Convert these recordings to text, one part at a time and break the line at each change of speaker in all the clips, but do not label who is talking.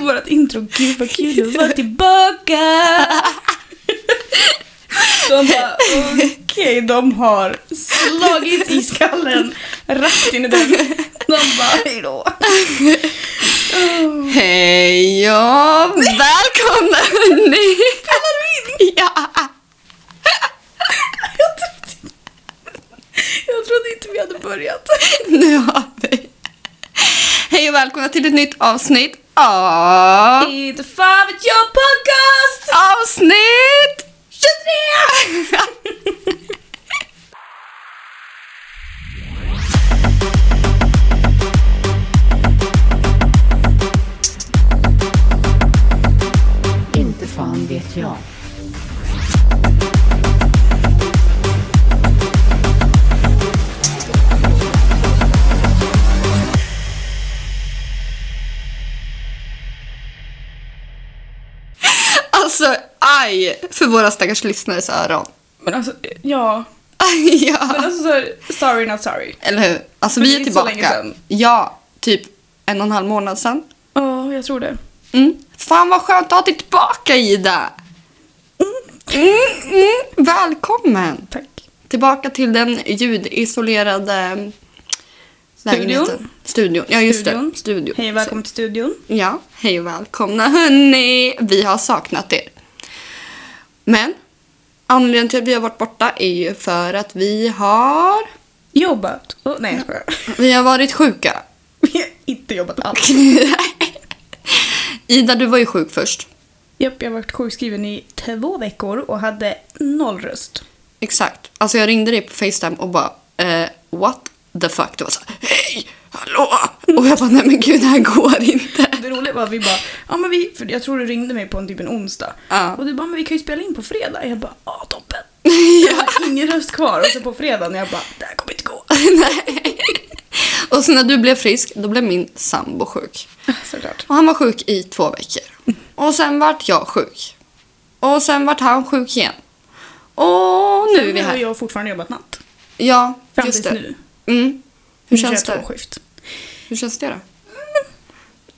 vårt intro. Gud vad kul att vara tillbaka! De bara, okej, de har slagit i skallen rakt in i den. De bara, hejdå. Oh.
Hej ja, välkomna hörni! Spelar du in? Ja!
Jag trodde inte vi hade börjat.
Nu har vi. Hej och välkomna till ett nytt avsnitt av...
Inte fan vet jag podcast!
Avsnitt 23!
Inte fan vet jag.
Alltså, aj för våra stackars lyssnares öron.
Men alltså, ja.
Aj,
Men
ja.
alltså, så här, sorry not sorry.
Eller hur? Alltså
Men
vi
det
är
är så länge
tillbaka.
sedan.
Ja, typ en och en halv månad sedan.
Ja, jag tror det.
Mm. Fan vad skönt att ha dig tillbaka Ida! Mm, mm. Välkommen!
Tack.
Tillbaka till den ljudisolerade lägenheten. Studion. Ja, just
Studion.
det. Studion.
Hej och välkommen till studion.
Ja, hej och välkomna hörni. Vi har saknat er. Men anledningen till att vi har varit borta är ju för att vi har...
Jobbat. Oh, nej, jag skojar.
Vi har varit sjuka.
Vi har inte jobbat alls.
Ida, du var ju sjuk först.
Japp, jag har varit sjukskriven i två veckor och hade noll röst.
Exakt. Alltså jag ringde dig på Facetime och bara eh, what the fuck. Du var så här, hej, hallå! Och jag bara nej men gud det här går inte.
Det roliga var att vi bara, ja men vi, för jag tror du ringde mig på en typ en onsdag.
Ja.
Och du bara, men vi kan ju spela in på fredag. Jag bara, ja toppen. Jag
ja,
hade ingen röst kvar och så på fredagen jag bara, det här kommer inte gå.
nej. Och sen när du blev frisk då blev min sambo sjuk.
Såklart.
Och han var sjuk i två veckor. Och sen vart jag sjuk. Och sen vart han sjuk igen. Och nu är vi
Sen har
här.
jag fortfarande jobbat natt.
Ja,
Fram
just
tills
det.
nu.
Mm. Hur känns
det?
det?
Skift.
Hur känns det då?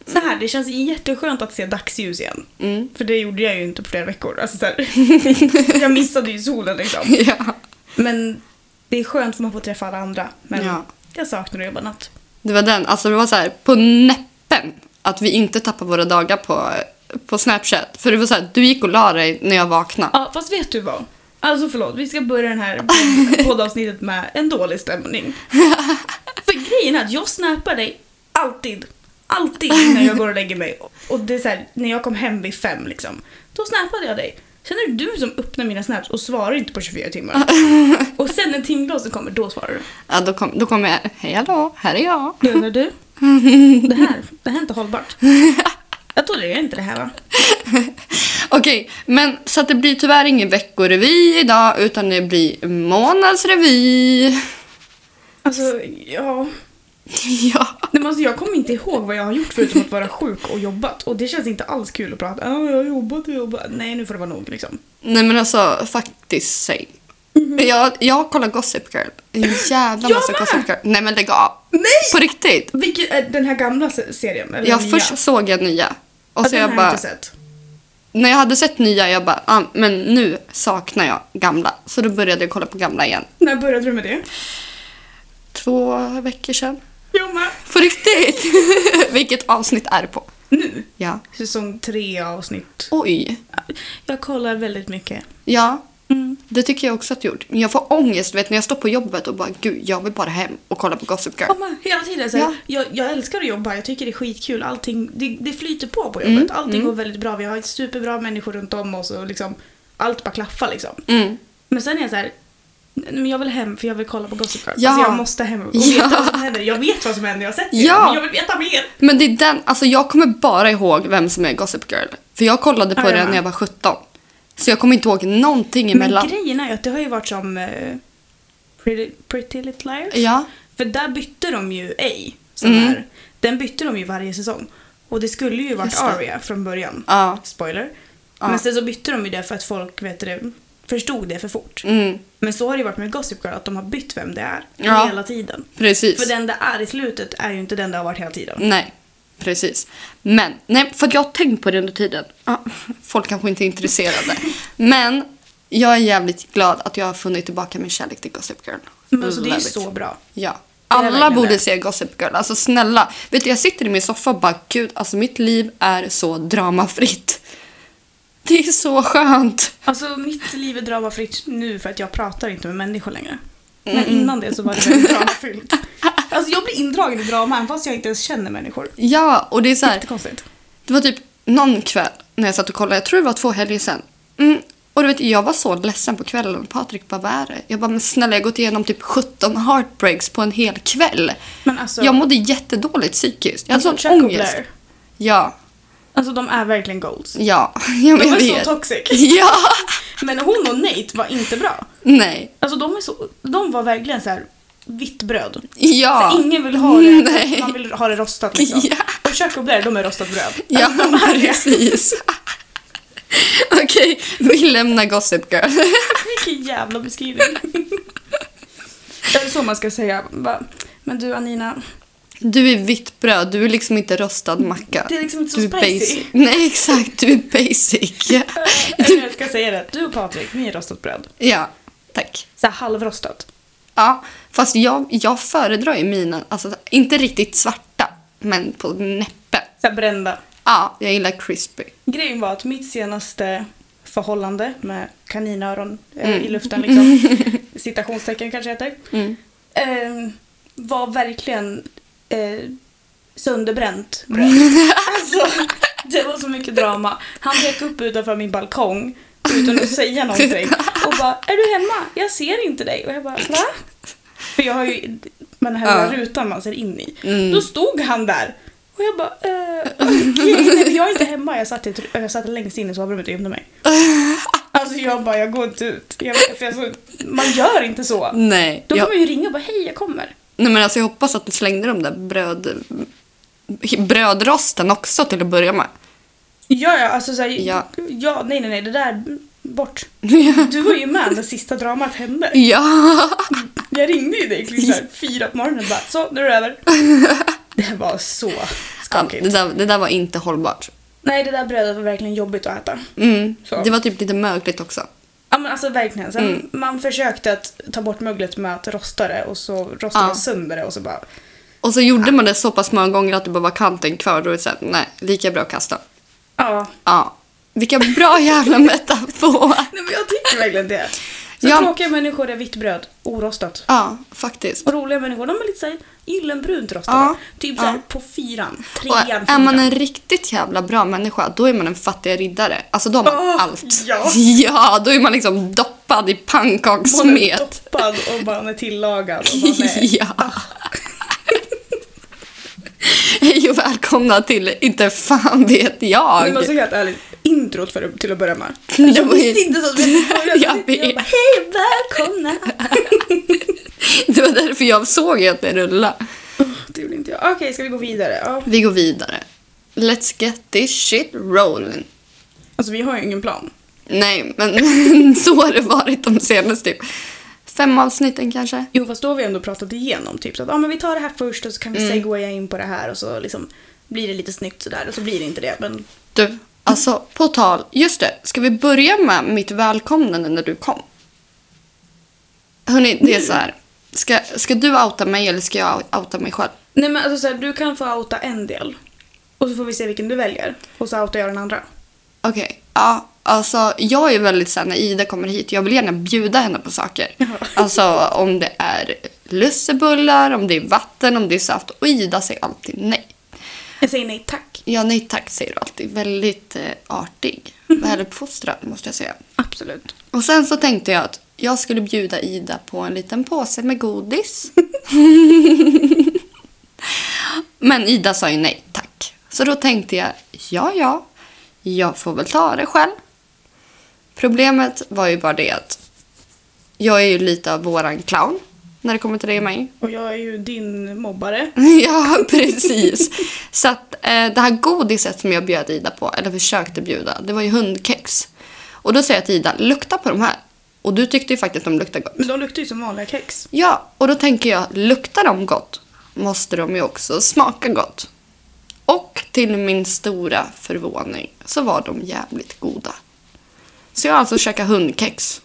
Så här, det känns jätteskönt att se dagsljus igen.
Mm.
För det gjorde jag ju inte på flera veckor. Alltså, så här, jag missade ju solen liksom.
Ja.
Men det är skönt för man får träffa alla andra. Men
Ja.
jag saknar att jobba natt.
Det var den. Alltså det var så här på näppen att vi inte tappar våra dagar på, på Snapchat. För det var så här, du gick och la dig när jag vaknade.
Ja, fast vet du vad? Alltså förlåt, vi ska börja den här poddavsnittet med en dålig stämning. För grejen är att jag snappar dig alltid. Alltid när jag går och lägger mig. Och det är så här, när jag kom hem vid fem liksom. Då snappade jag dig. Sen är det du som öppnar mina snaps och svarar inte på 24 timmar. Och sen när timglasen kommer, då svarar du.
Ja, då kom, då kom jag, hej hallå, här är jag.
Du, undrar du? Det här, det här är inte hållbart. Jag tolererar inte det här va?
Okej, men så att det blir tyvärr ingen veckorevy idag utan det blir månadsrevy.
Alltså, ja.
ja.
Nej, men alltså, jag kommer inte ihåg vad jag har gjort förutom att vara sjuk och jobbat. Och det känns inte alls kul att prata Ja, jag har jobbat och jobbat. Nej, nu får det vara nog liksom.
Nej men alltså faktiskt same. Jag, jag kollar Gossip Girl. En jävla
Mm-hmm. Jag
massa
med!
Gossip Girl. Nej men lägg av.
Nej!
På riktigt.
Vilken, är eh, den här gamla se- serien? Eller
Jag
nya?
först såg jag nya. Och
Ja,
så
den
jag
har
bara,
inte sett.
när jag hade sett nya, jag bara, ah, men nu saknar jag gamla. Så då började jag kolla på gamla igen.
När började du med det?
Två veckor sedan.
Jag med.
På riktigt! Vilket avsnitt är det på?
Nu?
Ja.
Säsong tre avsnitt.
Oj.
Jag kollar väldigt mycket.
Ja,
Mm.
det tycker jag också att jag gjort. Men jag får ångest, vet när jag står på jobbet och bara, gud, jag vill bara hem och kolla på Gossip Girl.
Ja, men hela tiden. Så här,
Ja.
jag, jag älskar att jobba, jag tycker det är skitkul. Allting, det, det flyter på på jobbet. Allting går väldigt bra. Vi har superbra människor runt om oss och liksom, allt bara klaffar liksom.
Mm.
Men sen är jag så här. "Nej, Men jag vill hem för jag vill kolla på Gossip Girl.
Ja.
Alltså jag måste hem och
Ja.
veta vad som händer. Jag vet vad som händer, jag har sett det.
Ja.
Men jag vill veta mer.
Men det är den, alltså jag kommer bara ihåg vem som är Gossip Girl. För jag kollade på
Ja, jag
den
med.
när jag var 17. Så jag kommer inte ihåg någonting emellan.
Men grejen är ju att det har ju varit som eh, Pretty, Pretty Little Liars.
Ja.
För där bytte de ju A. Som
Mm.
är, den bytte de ju varje säsong. Och det skulle ju varit
Just det.
Aria från början.
Ja.
Spoiler.
Ja.
Men sen så bytte de ju det för att folk vet det, förstod det för fort.
Mm,
Men så har det ju varit med Gossip Girl, att de har bytt vem det är
Ja.
hela tiden.
precis.
För den det är i slutet är ju inte den det har varit hela tiden.
Nej. Precis. Men, nej, för att jag har tänkt på det under tiden. Ah, Folk kanske inte är intresserade. Men jag är jävligt glad att jag har funnit tillbaka min kärlek till Gossip Girl.
Men alltså, det är
Love
ju
it.
så bra.
Ja.
Det är
Alla
verkligen
borde
det.
se Gossip Girl. Alltså snälla. Vet du, jag sitter i min soffa och bara gud, alltså mitt liv är så dramafritt. Det är så skönt.
Alltså mitt liv är dramafritt nu för att jag pratar inte med människor längre. Men
Mm.
innan det så var det väldigt dramafyllt. Alltså jag blir indragen i drama även fast jag inte ens känner människor.
Ja, och det är så här.
Jättekonstigt.
Det var typ någon kväll när jag satt och kollade, jag tror det var två helger sedan. Mm. Och du vet, jag var så ledsen på kvällen. Patrik bara, vad är det? Jag bara, men snälla jag har gått igenom typ 17 heartbreaks på en hel kväll.
Men alltså,
Jag mådde jättedåligt psykiskt. Jag hade
alltså,
sån
Chuck och
ångest.
Blair,
Ja,
alltså de är verkligen goals.
ja. Jag
De
men,
är
vet.
så toxic.
Ja!
Men hon och Nate var inte bra.
Nej.
Alltså de, är så, de var verkligen så här vitt bröd.
Ja. Mm,
Så ingen vill ha det,
Nej.
man vill ha det rostat liksom.
Ja.
Och Chuck och Blair, de är rostat bröd.
Ja,
Alltså, de är det.
precis. Okej, vi lämnar Gossip Girl.
Vilken jävla beskrivning. Det är så man ska säga. Bara, Men du Anina,
Du är vitt bröd, du är liksom inte rostad macka.
Det är liksom inte så
du är
spicy.
basic. Nej, exakt. Du är basic.
eller Eh, jag ska säga det. Du och Patrik, ni är rostat bröd.
ja, tack.
Så här halvrostat.
Ja, fast jag, jag föredrar ju mina, alltså inte riktigt svarta, men på näppen.
Så här brända.
Ja, jag gillar crispy.
Grejen var att mitt senaste förhållande med kaninöron eh, i luften liksom, citationstecken kanske heter, eh, var verkligen eh, sönderbränt bröd. alltså, det var så mycket drama. Han dök upp utanför min balkong utan att säga någonting och bara “Är du hemma? Jag ser inte dig” och jag bara “Va?” För jag har ju den här
Ja.
lilla rutan man ser in i.
Mm.
Då stod han där och jag bara eh, okej, nej, jag är inte hemma, jag satt, i, ett- jag satt längst in i sovrummet och gömde mig. Alltså jag bara, jag går inte ut. Jag, för jag, så- man gör inte så.
Nej,
Då
jag,
kan man ju ringa och bara, hej jag kommer.
nej men alltså jag hoppas att du slängde de där bröd, brödrosten också till att börja med.
Ja, ja, alltså såhär,
Ja.
ja. ja, nej, nej, nej, det där, bort. Du var ju med när sista dramat hände.
Ja,
Jag ringde ju dig klockan så här fyra på morgonen och bara, så, nu är det över. Det var så
ja det,
skakigt.
där, det där var inte hållbart.
Nej, det där brödet var verkligen jobbigt att äta.
Mm.
Så.
Det var typ lite mögligt också.
Ja men alltså verkligen. Sen,
Mm.
Man försökte att ta bort möglet med att rosta det och så rostade
Ja.
man sönder det och så bara...
Och så gjorde man det så pass många gånger att det bara var kanten kvar. Då är det såhär, nej, lika bra att kasta.
Ja.
Ja. Vilka bra jävla metaforer.
Nej men jag tycker verkligen det. Så
Ja.
tråkiga människor är vitt bröd, orostat.
Ja, faktiskt.
Och roliga människor, de är lite såhär gyllenbrunt rostade.
Ja.
Typ såhär
Ja.
på fyran, trean,
Och
fyran.
är man en riktigt jävla bra människa, då är man en fattig riddare. Alltså då har man
Åh,
allt.
ja.
ja, då är man liksom doppad i
man är
pannkakssmet.
doppad och man är tillagad. Och man är...
ja. Hej och välkomna till Inte fan vet jag.
Men man ska helt ärligt, introt för, till att börja med.
Det
Jag
var ju-
visste inte så att vi hade börjat.
Jag
Jag, jag
vet.
bara, hej välkomna!
Det var därför jag såg att det rullade.
Det gjorde inte jag. Okej, ska vi gå vidare? Ja.
Vi går vidare. Let's get this shit rolling.
Alltså vi har ju ingen plan.
Nej, men så har det varit de senaste typ fem avsnitten kanske.
Jo fast då har vi ändå pratat igenom typ så att ah, men vi tar det här först och så kan vi
Mm.
segwaya in på det här och så liksom blir det lite snyggt sådär och så blir det inte det men
Du, alltså på tal. Just det, ska vi börja med mitt välkomnande när du kom? Hörni, det är så här. Ska, ska du outa mig eller ska jag outa mig själv?
Nej men alltså såhär, du kan få outa en del och så får vi se vilken du väljer och så outar jag den andra.
Okej, ja. Alltså jag är väldigt såhär när Ida kommer hit, jag vill gärna bjuda henne på saker. Alltså om det är lussebullar, om det är vatten, om det är saft. Och Ida säger alltid nej.
Jag säger nej tack.
Ja, nej tack säger du alltid. Väldigt eh, artig. Väluppfostrad måste jag säga.
Absolut.
Och sen så tänkte jag att jag skulle bjuda Ida på en liten påse med godis. Men Ida sa ju nej tack. Så då tänkte jag, ja ja, jag får väl ta det själv. Problemet var ju bara det att jag är ju lite av våran clown när det kommer till dig och mig.
Och jag är ju din mobbare.
Ja, precis. Så att eh, det här godiset som jag bjöd Ida på, eller försökte bjuda, det var ju hundkex. Och då säger jag till Ida, lukta på de här. Och du tyckte ju faktiskt att de luktade gott.
Men de luktar ju som vanliga kex.
Ja, och då tänker jag, luktar de gott måste de ju också smaka gott. Och till min stora förvåning så var de jävligt goda. Så jag har alltså käkat hundkex.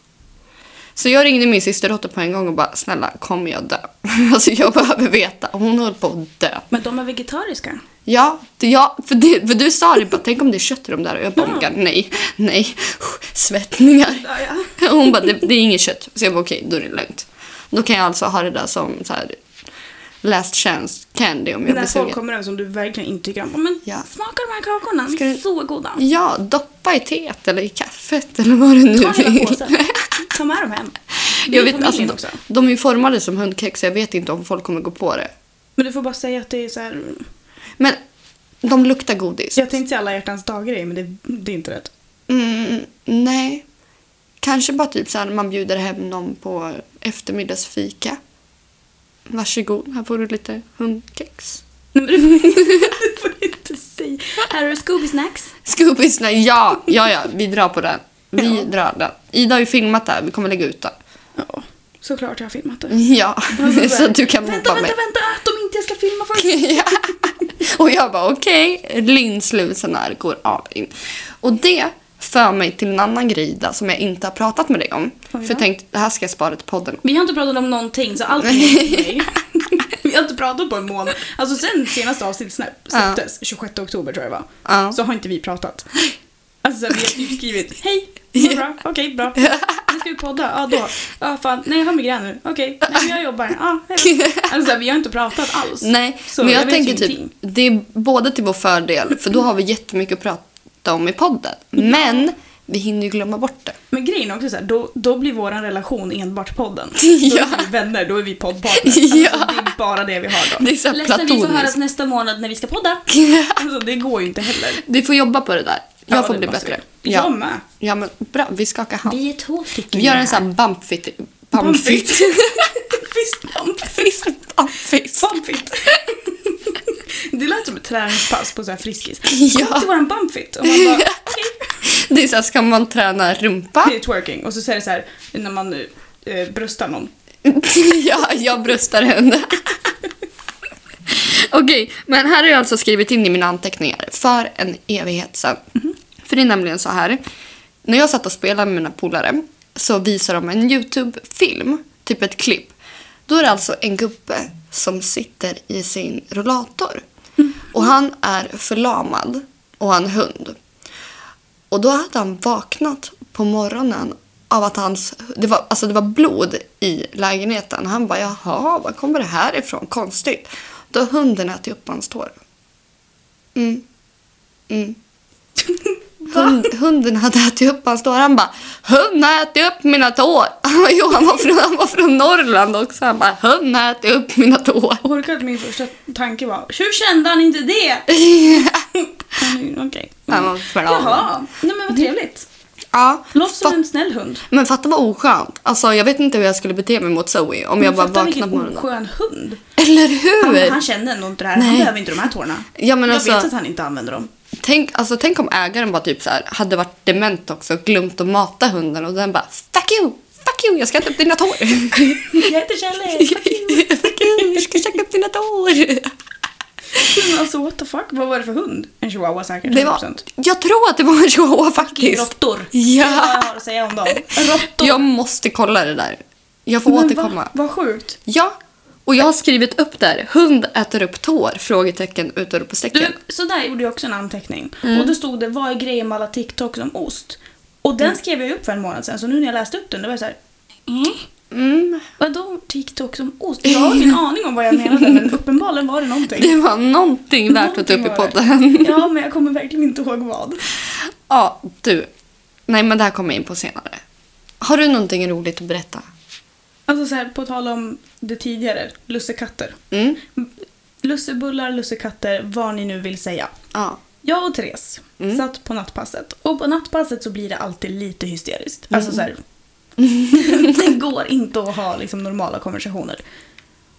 Så jag ringde min systerdotter på en gång och bara snälla kommer jag dö? Alltså jag behöver veta. Och hon höll på att dö.
Men de är vegetariska.
Ja, det, ja för, det, för du sa det bara, tänk om det är kött i de där. Och jag bara, oh my God, nej, nej, svettningar.
Ja, ja.
Och hon bara, det, det är inget kött. Så jag bara, okej, då är det lugnt. Då kan jag alltså ha det där som så här, last chance candy om
När
jag blir
folk
sugen.
kommer över som du verkligen inte tycker om. "Åh, Men
Ja.
smaka de här kakorna, de
Ska
är
du-
så goda.
Ja, doppa i teet eller i kaffet eller vad du nu
Ta hela
vill.
påsen. Ta med dem hem. Det är
Jag vet, alltså,
familjen
de,
också.
de är ju formade som hundkex, så jag vet inte om folk kommer gå på det.
Men du får bara säga att det är så här...
Men de luktar godis.
Jag tänkte säga alla hjärtans dagar men det, det är inte rätt.
Mm, nej. Kanske bara typ så här när man bjuder hem någon på eftermiddagsfika. Varsågod, här får du lite hundkex.
Nej, men du får, du får inte säga. Här har du Scooby-snacks.
Scoobies, nej, ja, ja, ja, vi drar på den. Vi
Ja.
drar den. Ida har ju filmat det här, vi kommer lägga ut den.
Ja, såklart jag har filmat det.
Ja, så att du kan
Alltså, Vänta, vänta,
mobba mig.
vänta! Att de inte jag ska filma först!
ja. Och jag bara okej, linslusen här går all in. Och det för mig till en annan grej Ida, som jag inte har pratat med dig om.
då.
För jag tänkte, det här ska jag spara till podden.
Vi har inte pratat om någonting, så allt är nytt för mig. Vi har inte pratat på en månad. Alltså sen senaste avsnittet snäpp- släpptes, 26 oktober tror jag det var,
Ja.
så har inte vi pratat. Alltså så här, vi har typ skrivit hej, mår du bra, okej bra. Nu ska vi podda, ja då. Ja fan, nej jag har migrän nu, okej. Nej men jag jobbar, ja hej då. Alltså så här, vi har inte pratat alls.
Nej,
Så
men jag,
vet
tänker
ju
typ,
ingenting.
det är både till vår fördel, för då har vi jättemycket att prata om i podden. Men vi hinner ju glömma bort det.
Men grejen är också så här, då, då blir vår relation enbart podden. Då är
Ja.
inte vi vänner, då är vi poddpartners.
Ja.
Alltså, det är bara det vi har då.
Det är så här
Ledsen, vi får
platoniskt.
höras nästa månad när vi ska podda. Alltså det går ju inte heller.
Vi får jobba på det där. Jag får
det
bli
måste
bättre.
vi. Jag med.
ja, men bra. Vi skakar hand.
Vi är två stycken.
Vi gör en sån här bumpfit...
Bumpfit.
Bumpfit.
Fistbump.
Fist bumpfit.
Bumpfit. Det lät som ett träningspass på så här Friskis.
Ja.
Kom till våran bumpfit. Och man bara, okej.
Det är så här, ska man träna rumpa?
Det är twerking. Och så säger det så här när man eh, bröstar någon.
ja, jag bröstar henne. Okej, men här har jag alltså skrivit in i mina anteckningar för en evighet sedan. För det är nämligen så här. När jag satt och spelade med mina polare så visar de en YouTube-film, typ ett klipp. Då är det alltså en gubbe som sitter i sin rollator. Och han är förlamad och har en hund. Och då hade han vaknat på morgonen av att hans, det var, alltså det var blod i lägenheten. Han bara jaha, var kommer det här ifrån? Konstigt. Då har hunden ätit upp hans tår. Mm. Mm. Hund, hunden hade ätit upp hans tår. Han bara hunden har ätit upp mina tår. Han bara, jo, han var från, han var från Norrland också. Han bara hunden har ätit upp mina tår.
Orkar att min första tanke var, hur kände han inte det? Mm, Okej.
Han var förlamad.
Jaha, nej men vad trevligt.
Ja,
Låt som
fatt-
en snäll hund.
Men fatta vad oskönt. Alltså jag vet inte hur jag skulle bete mig mot Zoe om jag bara
Fatta
vaknade
vilken
på morgonen.
oskön hund.
Eller
Han,
hur?
han känner nog inte det här, han
Nej.
behöver inte de här tårna.
Ja, men
jag
alltså-
vet att han inte använder dem.
Tänk, alltså, tänk om ägaren bara typ så här, hade varit dement också och glömt att mata hunden och den bara fuck you, fuck you, jag ska äta upp dina tår.
Jag heter Kjelle! fuck you.
fuck you, jag ska käka upp dina tår.
Men Alltså what the fuck, vad var det för hund? En chihuahua säkert, 100%.
Det var, jag tror att det var en chihuahua faktiskt.
Råttor. Det är vad jag
Ja,
har att säga om dem. Råttor.
jag måste kolla det där. Jag får
Men
återkomma.
Va, vad sjukt.
Ja, och jag har skrivit upp där, hund äter upp tår? Frågetecken, utropstecken.
Du, så där gjorde jag också en anteckning.
Mm.
Och då stod det, vad är grejen med alla TikToks om ost? Och den skrev jag upp för en månad sedan, så nu när jag läste upp den, då var jag såhär, mm.
Mm,
Vadå TikTok som ost? Jag har ingen aning om vad jag menade men uppenbarligen var det någonting.
det var någonting värt att ta upp i
Någonting var det.
podden.
Ja, men jag kommer verkligen inte ihåg vad.
Ja, du. Nej, men det här kommer jag in på senare. Har du någonting roligt att berätta?
Alltså så här, på tal om det tidigare, lussekatter.
Mm.
Lussebullar, lussekatter, vad ni nu vill säga.
Ja.
Jag och Therese
Mm.
satt på nattpasset och på nattpasset så blir det alltid lite hysteriskt. Alltså
Mm.
så här, det går inte att ha liksom, normala konversationer.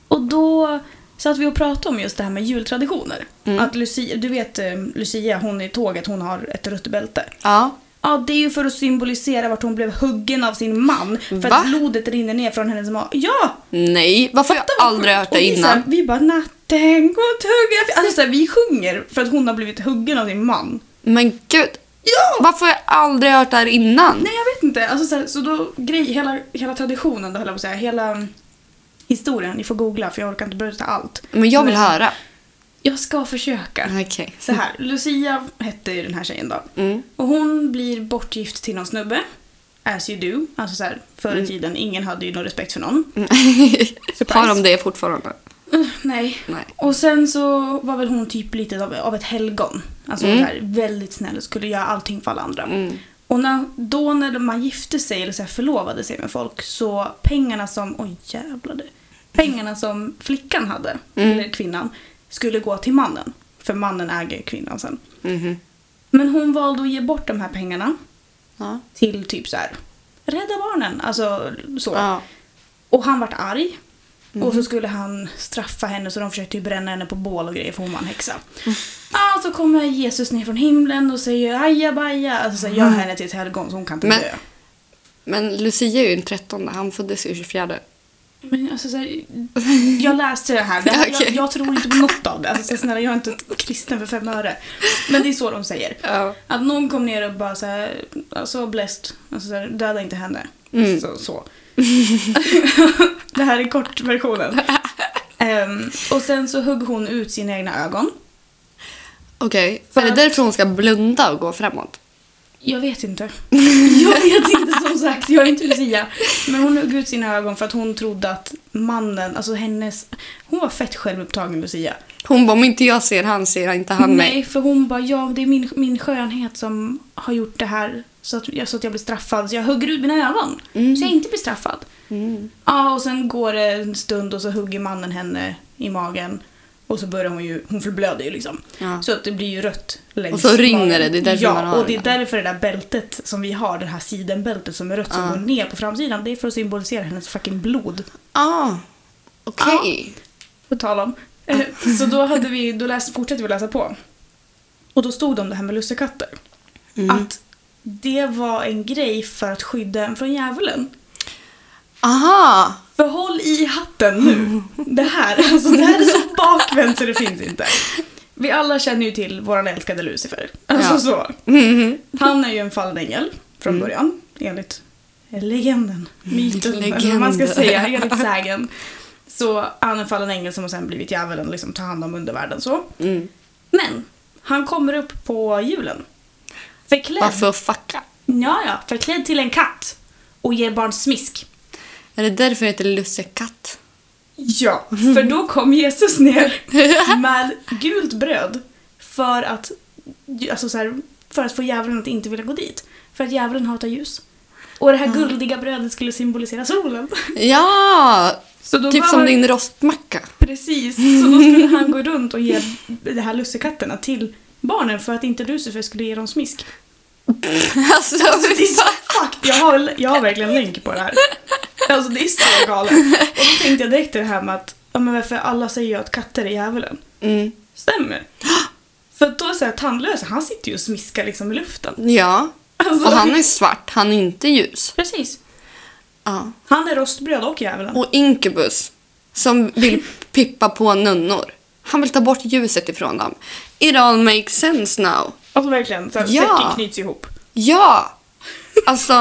Och då satt vi och pratade om just det här med
Mm.
jultraditioner. Att Lucia, du vet eh, Lucia, hon i tåget, hon har ett rött bälte.
Ja.
Ja, det är ju för att symbolisera vart hon blev huggen av sin man. För
Va?
att blodet rinner ner från hennes mage. Ja!
Nej, varför har jag
vad
aldrig
sjukt.
hört det
Och vi så här,
innan?
Vi bara natten går tugga. Alltså så här, vi sjunger för att hon har blivit huggen av sin man.
Men gud,
Ja!
varför har jag aldrig hört det här innan?
Nej jag vet inte. Alltså, så, här, så då grej, hela, hela traditionen då höll jag på att säga. Hela mm, historien. Ni får googla för jag orkar inte berätta allt.
Men jag vill höra.
Jag ska försöka.
Okej.
Så här, Lucia hette ju den här tjejen då.
Mm.
Och hon blir bortgift till någon snubbe. As you do. Alltså så här, förr i
Mm.
tiden, ingen hade ju någon respekt för någon.
har de det fortfarande?
Uh, nej.
Nej.
Och sen så var väl hon typ lite av, av ett helgon. Alltså
Mm.
så här, väldigt snäll och skulle göra allting för alla andra. Och när, då när man gifte sig eller så här förlovade sig med folk så pengarna som, oj jävlar det. Pengarna som flickan hade,
Mm.
eller kvinnan, skulle gå till mannen. För mannen äger kvinnan sen.
Mhm.
Men hon valde att ge bort de här pengarna
Ja.
till typ så här, rädda barnen. Alltså så.
ja. Mm.
Och han vart arg. Och så skulle han straffa henne så de försökte ju bränna henne på bål och grejer för hon var en häxa.
Mm.
Ah, så kommer Jesus ner från himlen och säger ajabaja. Alltså så här, gör henne till ett helgon så hon kan inte
Mm. Men-
dö.
Men Lucia är ju den 13, han föddes ju 24.
Men alltså så här, jag läste det här. Det här jag,
Okej.
jag tror inte på något av det. Alltså, så snälla, jag är inte kristen för fem öre. Men det är så de säger.
Ja.
Att någon kom ner och bara så här, alltså blessed, alltså så här, döda inte henne.
Mm.
Så, så. det här är kortversionen. Ehm, och sen så högg hon ut sina egna ögon.
Okej,
För
är det
att-
därför hon ska blunda och gå framåt?
Jag vet inte. Jag vet inte som sagt, jag är inte Lucia. Men hon högg ut sina ögon för att hon trodde att mannen, alltså hennes, hon var fett självupptagen Lucia.
Hon bara, om inte jag ser han ser inte han
Nej,
mig.
för hon bara, ja det är min, min skönhet som har gjort det här så att, jag, så att jag blir straffad. Så jag hugger ut mina ögon.
Mm.
Så jag inte blir straffad. Ja, och sen går det en stund och så hugger mannen henne i magen. Och så börjar hon ju, hon förblöder ju liksom.
Ja.
Så att det blir ju rött längs
Och så rinner
magen.
det, det är därför
ja,
man har
och det är
det.
därför det där bältet som vi har, det här sidenbältet som är rött som
Ja.
går ner på framsidan, det är för att symbolisera hennes fucking blod.
Ah, okej.
På tal om. Eh, Så då, hade vi, då läs, fortsatte vi läsa på. Och då stod det om det här med lussekatter.
Mm.
Att det var en grej för att skydda en från djävulen.
Aha!
För håll i hatten nu. Det här, alltså det här är så bakvänt så det finns inte. Vi alla känner ju till våran älskade Lucifer. Alltså
Ja.
så.
Mhm.
Han är ju en fallen ängel från början, enligt legenden, myten, eller vad man ska
Legenden.
säga, enligt sägen. Så han är en fallen ängel som har sen blivit djävulen, liksom tar hand om undervärlden så.
Mm.
Men, han kommer upp på julen. Förklädd,
Varför fucka?
ja, ja, förklädd till en katt och ger barn smisk.
Är det därför det heter lussekatt?
Ja, för då kom Jesus ner med gult bröd för att, alltså så här, för att få djävulen att inte vilja gå dit. För att djävulen hatar ljus. Och det här guldiga brödet skulle symbolisera solen.
Ja!
Så då
typ
var-
som din rostmacka.
Precis, så då skulle han gå runt och ge de här lussekatterna till barnen för att inte Lucifer skulle ge dem smisk.
Alltså,
Det är så fucked. Jag har, jag har verkligen länk på det här. Alltså det är så galet. Och då tänkte jag direkt det här med att, ja men varför alla säger ju att katter är djävulen.
mm.
Stämmer. För att då är så här, tandlösa, han sitter ju och smiskar liksom i luften.
Ja.
Alltså,
Och han är svart, han är inte ljus.
Precis.
Ja.
Han är rostbröd och djävulen.
Och Incubus, som vill pippa på nunnor. Han vill ta bort ljuset ifrån dem. It all makes sense now.
Alltså verkligen, så här,
Ja.
säcken knyts ihop.
Ja! Alltså,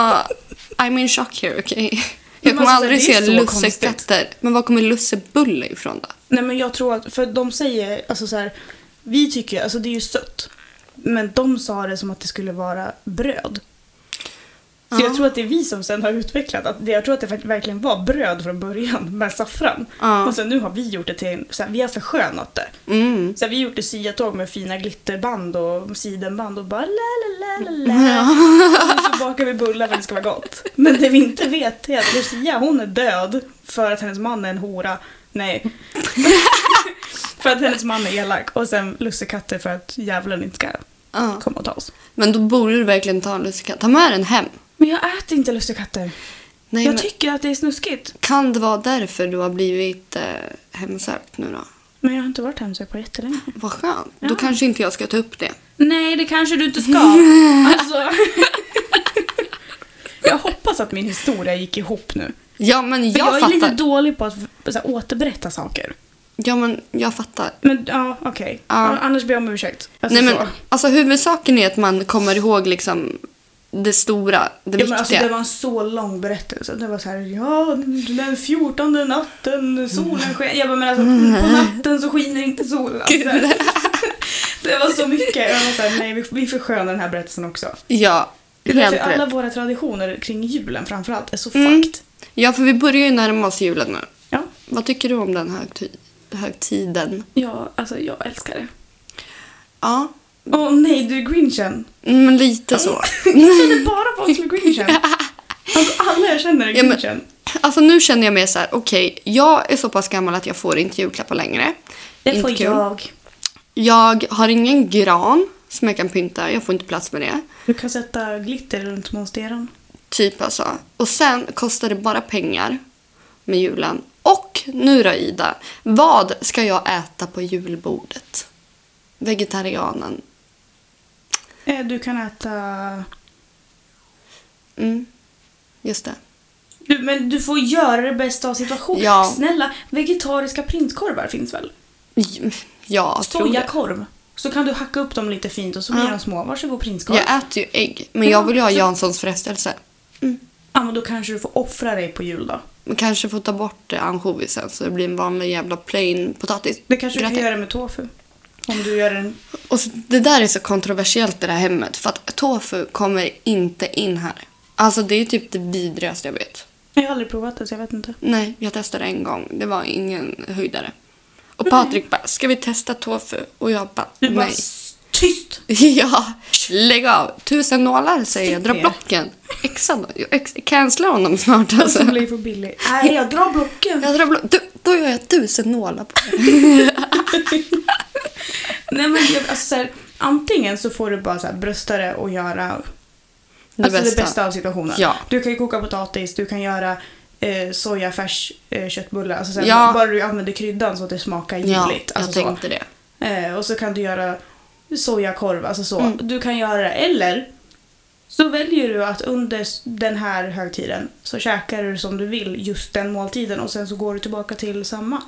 I'm in shock here, okej?
Men
Jag kommer
alltså,
aldrig
det är
se
så
lussekatter. Men var kommer lussebulle ifrån då?
Nej men jag tror att, för de säger, alltså så här, vi tycker ju, alltså det är ju sött. Men de sa det som att det skulle vara bröd. Så
Ja.
jag tror att det är vi som sen har utvecklat att det, jag tror att det verk- verkligen var bröd från början med saffran.
Ja.
Och sen nu har vi gjort det till, en- så här, vi har förskönat det.
Mm.
Så här, vi gjorde syatåg med fina glitterband och sidenband och bara la la la la la. Och så bakar vi bullar för att det ska vara gott. Men det vi inte vet är att Lucia hon är död för att hennes man är en hora. Nej. för att hennes man är elak. Och sen lussekatter för att djävulen inte ska
Ja.
komma och ta oss.
Men då borde du verkligen ta en lussekatt. Ta med den hem.
Men jag äter inte lussekatter.
Nej,
Jag
men
tycker att det är snuskigt.
kan det vara därför du har blivit eh, hemsökt nu då?
Men jag har inte varit hemsökt på jättelänge.
Vad skönt.
Ja.
Då kanske inte jag ska ta upp det.
Nej, det kanske du inte ska. alltså. Jag hoppas att min historia gick ihop nu.
Ja, men
För
jag,
jag, är
fattar.
lite dålig på att så här, återberätta saker.
Ja, men jag fattar.
Men ja, okej. Ja, Annars ber jag om ursäkt. Alltså,
Nej, men,
så.
alltså, huvudsaken är att man kommer ihåg liksom det stora,
Ja, men
det viktiga.
alltså, det var en så lång berättelse. Det var så här, ja, den fjortonde natten, solen sken. Jag bara, men alltså, på natten så skiner inte solen. Alltså,
Gud.
det var så mycket. Jag var så här, nej, vi, vi förskönar den här berättelsen också.
Ja,
Det är därför
helt
alla
rätt.
våra traditioner kring julen framförallt är så
Mm.
fucked.
Ja, för vi börjar ju närma oss julen nu.
Ja.
Vad tycker du om den högtid- högtiden?
ja, alltså jag älskar det.
Ja,
Åh nej, du är grinchen.
men lite så.
Jag känner bara folk som är grinchen. Alltså alla jag känner är
Ja, men-
grinchen.
Alltså nu känner jag mig så här, okej, jag är så pass gammal att jag får inte julklappar längre.
Det
Inte
får
kul.
jag.
Jag har ingen gran som jag kan pynta, jag får inte plats med det.
Du kan sätta glitter runt monsteren.
Typ alltså. Och sen kostar det bara pengar med julen. Och nu då Ida, vad ska jag äta på julbordet? Vegetarianen.
Eh, Du kan äta...
Mm, just det.
Du, men du får göra det bästa av situationen.
Ja.
Snälla, vegetariska prinskorvar finns väl?
J- Ja, jag tror det.
Sojakorv. Så kan du hacka upp dem lite fint och så blir de små. Varsågod prinskorv.
Jag äter ju ägg, men jag vill ju ha
Ja, så-
Janssons frestelse.
Ja, men då kanske du får offra dig på jul då.
Man kanske får ta bort eh, ansjovisen så det blir en vanlig jävla plain potatis.
Det kanske du kan
Gratin.
göra med tofu. Om du gör en...
Och så, det där är så kontroversiellt i det här hemmet för att tofu kommer inte in här. Alltså det är ju typ det vidrigaste jag vet.
Jag har aldrig provat det så jag vet inte.
Nej, jag testade en gång. Det var ingen höjdare. Och Patrik bara, ska vi testa tofu? Och jag bara,
Du bara,
nej.
"S- tyst!
ja, lägg av. Tusen nålar säger jag. Dra
Stick ner.
blocken. Exa då. Jag ex- cancelar honom snart alltså.
Alltså. blir det för billig. Nej, jag drar blocken.
Jag drar block- du, då gör jag tusen nålar på det.
Nej, men jag, alltså, så här, antingen så får du bara så här, brösta det och göra
Det
alltså,
bästa.
det bästa av situationen.
Ja.
Du kan ju koka potatis, du kan göra eh, sojafärs eh, köttbullar. Alltså, så här,
Ja.
Bara du använder kryddan så att det smakar
Ja,
ljuvligt.
jag
alltså, så.
tänkte det.
Eh, och så kan du göra sojakorv, alltså så.
Mm.
Du kan göra det. Eller så väljer du att under s- den här högtiden så käkar du som du vill just den måltiden och sen så går du tillbaka till samma.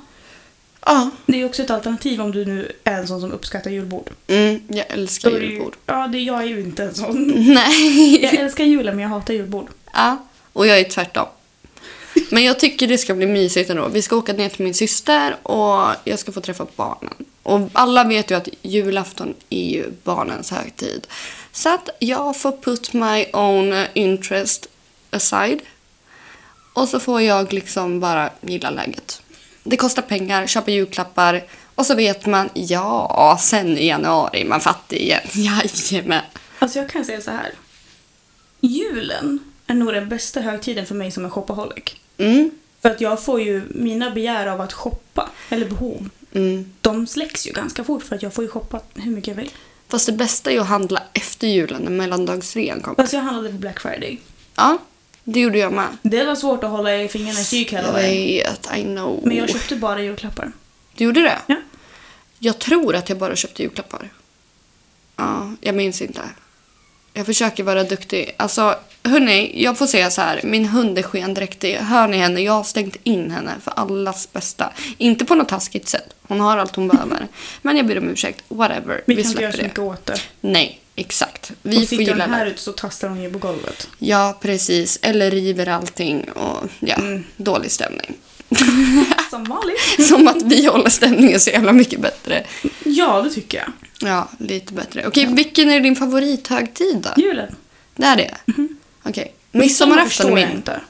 Ja.
Det är ju också ett alternativ om du nu är en sån som uppskattar julbord.
Mm, jag älskar
Då är det ju-
julbord.
Ja, det, jag är ju inte en sån.
Nej.
Jag älskar julen men jag hatar julbord.
Ja, och jag är tvärtom. Men jag tycker det ska bli mysigt ändå. Vi ska åka ner till min syster och jag ska få träffa barnen. Och alla vet ju att julafton är ju barnens högtid. Så att jag får put my own interest aside. Och så får jag liksom bara gilla läget. Det kostar pengar, köpa julklappar och så vet man, ja, sen i januari är man fattig igen. Jajamän.
Alltså jag kan säga så här. Julen är nog den bästa högtiden för mig som är shopaholic.
Mm,
För att jag får ju mina begär av att shoppa, eller behov,
mm.
de släcks ju ganska fort för att jag får ju shoppa hur mycket jag vill.
Fast det bästa är att handla efter julen när mellandagsrean kommer.
Alltså jag handlade på Black Friday.
Ja, det gjorde jag med.
Det var svårt att hålla i fingrarna i psyk hela
Jag
dagen.
vet, I know.
Men jag köpte bara julklappar.
Du gjorde det?
Ja.
Jag tror att jag bara köpte julklappar. Ja, jag minns inte. Jag försöker vara duktig. Alltså, hörni, jag får säga så här. Min hund är skendräktig. Hör ni henne? Jag har stängt in henne för allas bästa. Inte på något taskigt sätt. Hon har allt hon behöver. Men jag ber om ursäkt. Whatever.
Vi,
Vi,
kan inte göra
släpper
så mycket
det.
åt det.
Nej, exakt. Vi
Vi
får
sitter
gilla
hon här
det.
ute så tastar hon ju på golvet.
Ja, precis. Eller river allting och ja,
Mm.
dålig stämning.
Som vanligt.
Som att vi håller stämningen så jävla mycket bättre.
Ja, det tycker jag.
Ja, lite bättre. Okej, vilken är din favorithögtid då?
Julen.
Det är det? Okej. Midsommarafton är
förstår jag
min.
inte.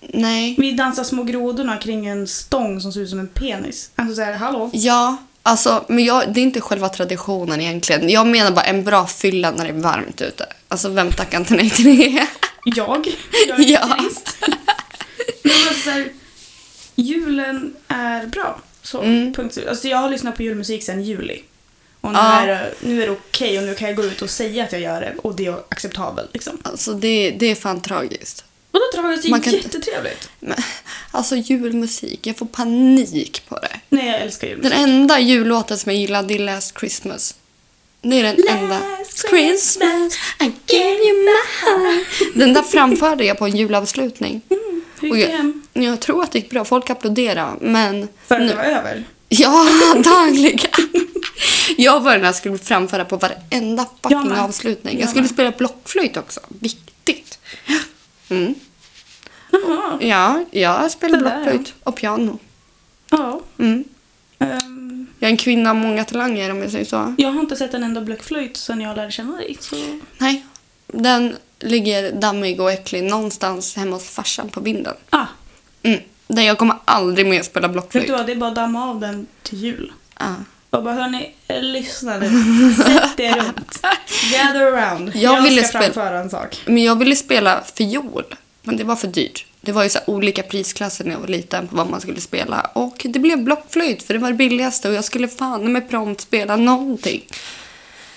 Nej.
Vi dansar små grodorna kring en stång som ser ut som en penis. Alltså såhär, hallå?
Ja, alltså, men jag, det är inte själva traditionen egentligen. Jag menar bara en bra fylla när det är varmt ute. Alltså, vem tackar inte nej till det?
Jag? Jag är
Ja.
ja. Men alltså såhär, julen är bra. Så,
Mm.
punkt slut. Alltså jag har lyssnat på julmusik sedan juli. Och nu,
Ja.
är, det- nu är det okej och nu kan jag gå ut och säga att jag gör det och det är acceptabelt liksom.
Alltså, det, det är fan tragiskt.
Och då tror jag att det
Man kan
är
inte-
jättetrevligt.
Men, alltså, julmusik. Jag får panik på det.
Nej, jag älskar
Den
julmusik.
enda jullåten som jag gillade är Last Christmas. Det är den enda... Christmas, I gave you my heart. Den där framförde jag på en julavslutning.
Hur
Och
gick det
jag,
hem?
jag tror att det gick bra. Folk applåderade, men...
För att det var över?
Ja, antagligen. Jag var den här som skulle framföra på varenda
Jag
fucking
med.
avslutning. Jag
Jag
skulle
med.
spela blockflöjt också. Viktigt. Mm.
Jaha.
Ja, jag spelar
Sådär,
blockflöjt och piano.
Ja.
Mm.
Ehm,
Jag är en kvinna av många talanger om jag säger så.
jag har inte sett en enda blockflöjt sedan jag lärde känna dig. Så...
Nej, den ligger dammig och äcklig någonstans hemma hos farsan på vinden.
Ah,
Mm. Där jag kommer aldrig mer spela
vet
blockflöjt.
du vad? Det är bara att damma av den till jul.
Ah.
Och bara hörni, eh, lyssna nu. Sätt er runt. Gather around.
Jag ville
ska
spela-
framföra en sak.
Men jag ville spela fiol, men det var för dyrt. Det var ju så här olika prisklasser när jag var liten på vad man skulle spela. Och det blev blockflöjt för det var det billigaste och jag skulle fan med prompt spela någonting.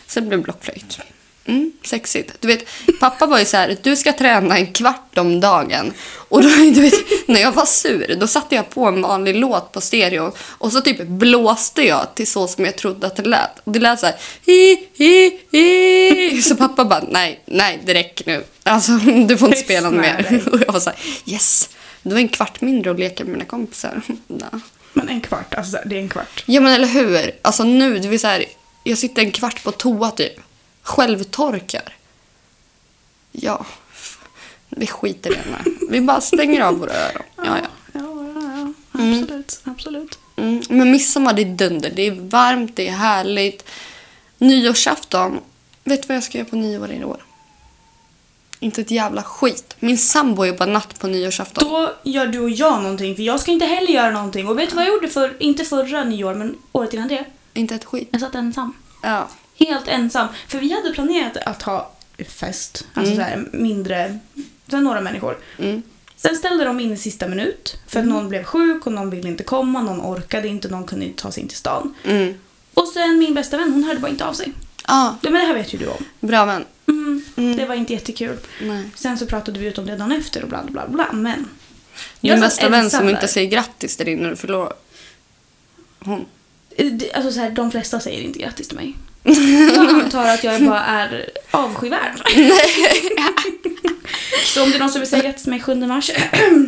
Så det blev blockflöjt. Mm, sexigt. Du vet, pappa var ju så här, du ska träna en kvart om dagen. Och då, du vet, när jag var sur, då satte jag på en vanlig låt på stereo och så typ blåste jag till så som jag trodde att det lät. Och det lät så här, hi, hi, hi. Så pappa bara, nej, nej, det räcker nu. Alltså, du får inte spela
Tystnad.
mer. Och jag var så här, yes. Det var en kvart mindre att leka med mina kompisar. Nja.
Men en kvart, alltså det är en kvart.
Ja men eller hur? Alltså nu, det vill säga, jag sitter en kvart på toa typ. Självtorkar. Ja, f- vi skiter i den här. Vi bara stänger av våra öron. Ja, Mm. ja.
Ja, ja, ja. Absolut, absolut.
Mm. Men midsommar det är dunder. Det är varmt, det är härligt. Nyårsafton, vet du vad jag ska göra på nyår i år? Inte ett jävla skit. Min sambo jobbar natt på nyårsafton.
Då gör du och jag någonting, för jag ska inte heller göra någonting. Och vet du vad jag gjorde för, inte förra nyår, men året innan det?
Inte ett skit.
Jag satt ensam.
Ja.
Helt ensam. För vi hade planerat att ha fest, alltså så här mindre, så här några människor.
Mm.
Sen ställde de in i sista minut för att någon blev sjuk och någon ville inte komma, någon orkade inte, någon kunde inte ta sig in till stan.
Mm.
Och sen min bästa vän, hon hörde bara inte av sig.
Ja,
Ja, men det här vet ju du om.
bra vän.
Mm,
Mm.
Det var inte jättekul.
Nej.
Sen så pratade vi ut om det dagen efter och bla bla bla, men...
Din
Jag satt
bästa vän som
ensam
inte
där.
säger grattis till din när du förlorar. Hon.
Det- Alltså så här, de flesta säger inte grattis till mig. Jag antar att jag bara är avskyvärd. så om det är någon som vill säga grattis till mig 7 mars.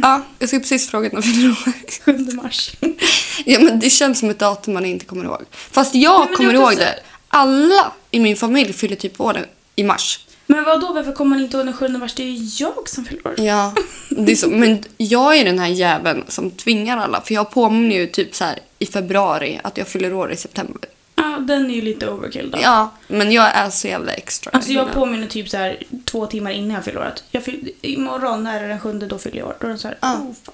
Ja, jag skulle precis fråga när du förlorar.
7 mars.
Ja, men det känns som ett datum man inte kommer ihåg. Fast jag
Nej, men
kommer
det är
ihåg
också
det. Alla i min familj fyller typ år nu, i mars.
Men vad då varför kommer man inte ihåg den 7 mars? Det är ju jag som förlorar.
Ja, det är så. Men jag är den här jäveln som tvingar alla. För jag påminner ju typ så här i februari att jag fyller år i september.
Ja, den är ju lite overkill då.
Ja, men jag är så jävla extra.
Alltså jag påminner typ så här två timmar innan jag fyller året. Jag fyll, imorgon när det är den sjunde då fyller jag år. Då är den så här,
Ja.
oh fuck.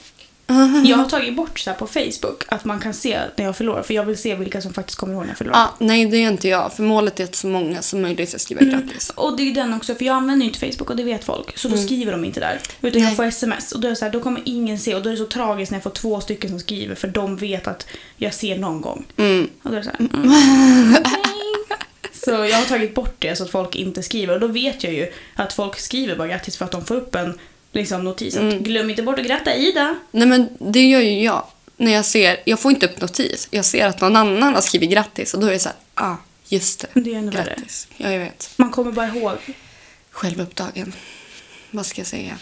Jag har tagit bort så här på Facebook att man kan se när jag fyller år. För jag vill se vilka som faktiskt kommer ihåg när jag fyller år.
Ja, nej, det är inte jag. För målet är att så många som möjligt ska
Mm.
skriva grattis.
Och det är ju den också, för jag använder ju inte Facebook och det vet folk. Så då skriver de inte där. Utan
Mm. Nej.
jag får sms och då är det så här, då kommer ingen se. Och då är det så tragiskt när jag får två stycken som skriver för de vet att jag ser någon gång.
Mm.
Och då är det så här, mm, okej. Så jag har tagit bort det så att folk inte skriver. Och då vet jag ju att folk skriver bara grattis för att de får upp en liksom, notis. Att,
Mm.
Glöm inte bort att gratta Ida.
Nej men det gör ju jag. När jag ser, jag får inte upp notis. Jag ser att någon annan har skrivit grattis och då är det så här, ah, just det.
Men det är ju ännu värre.
grattis. Ja, jag vet.
Man kommer bara ihåg.
Självupptagen. Vad ska jag säga?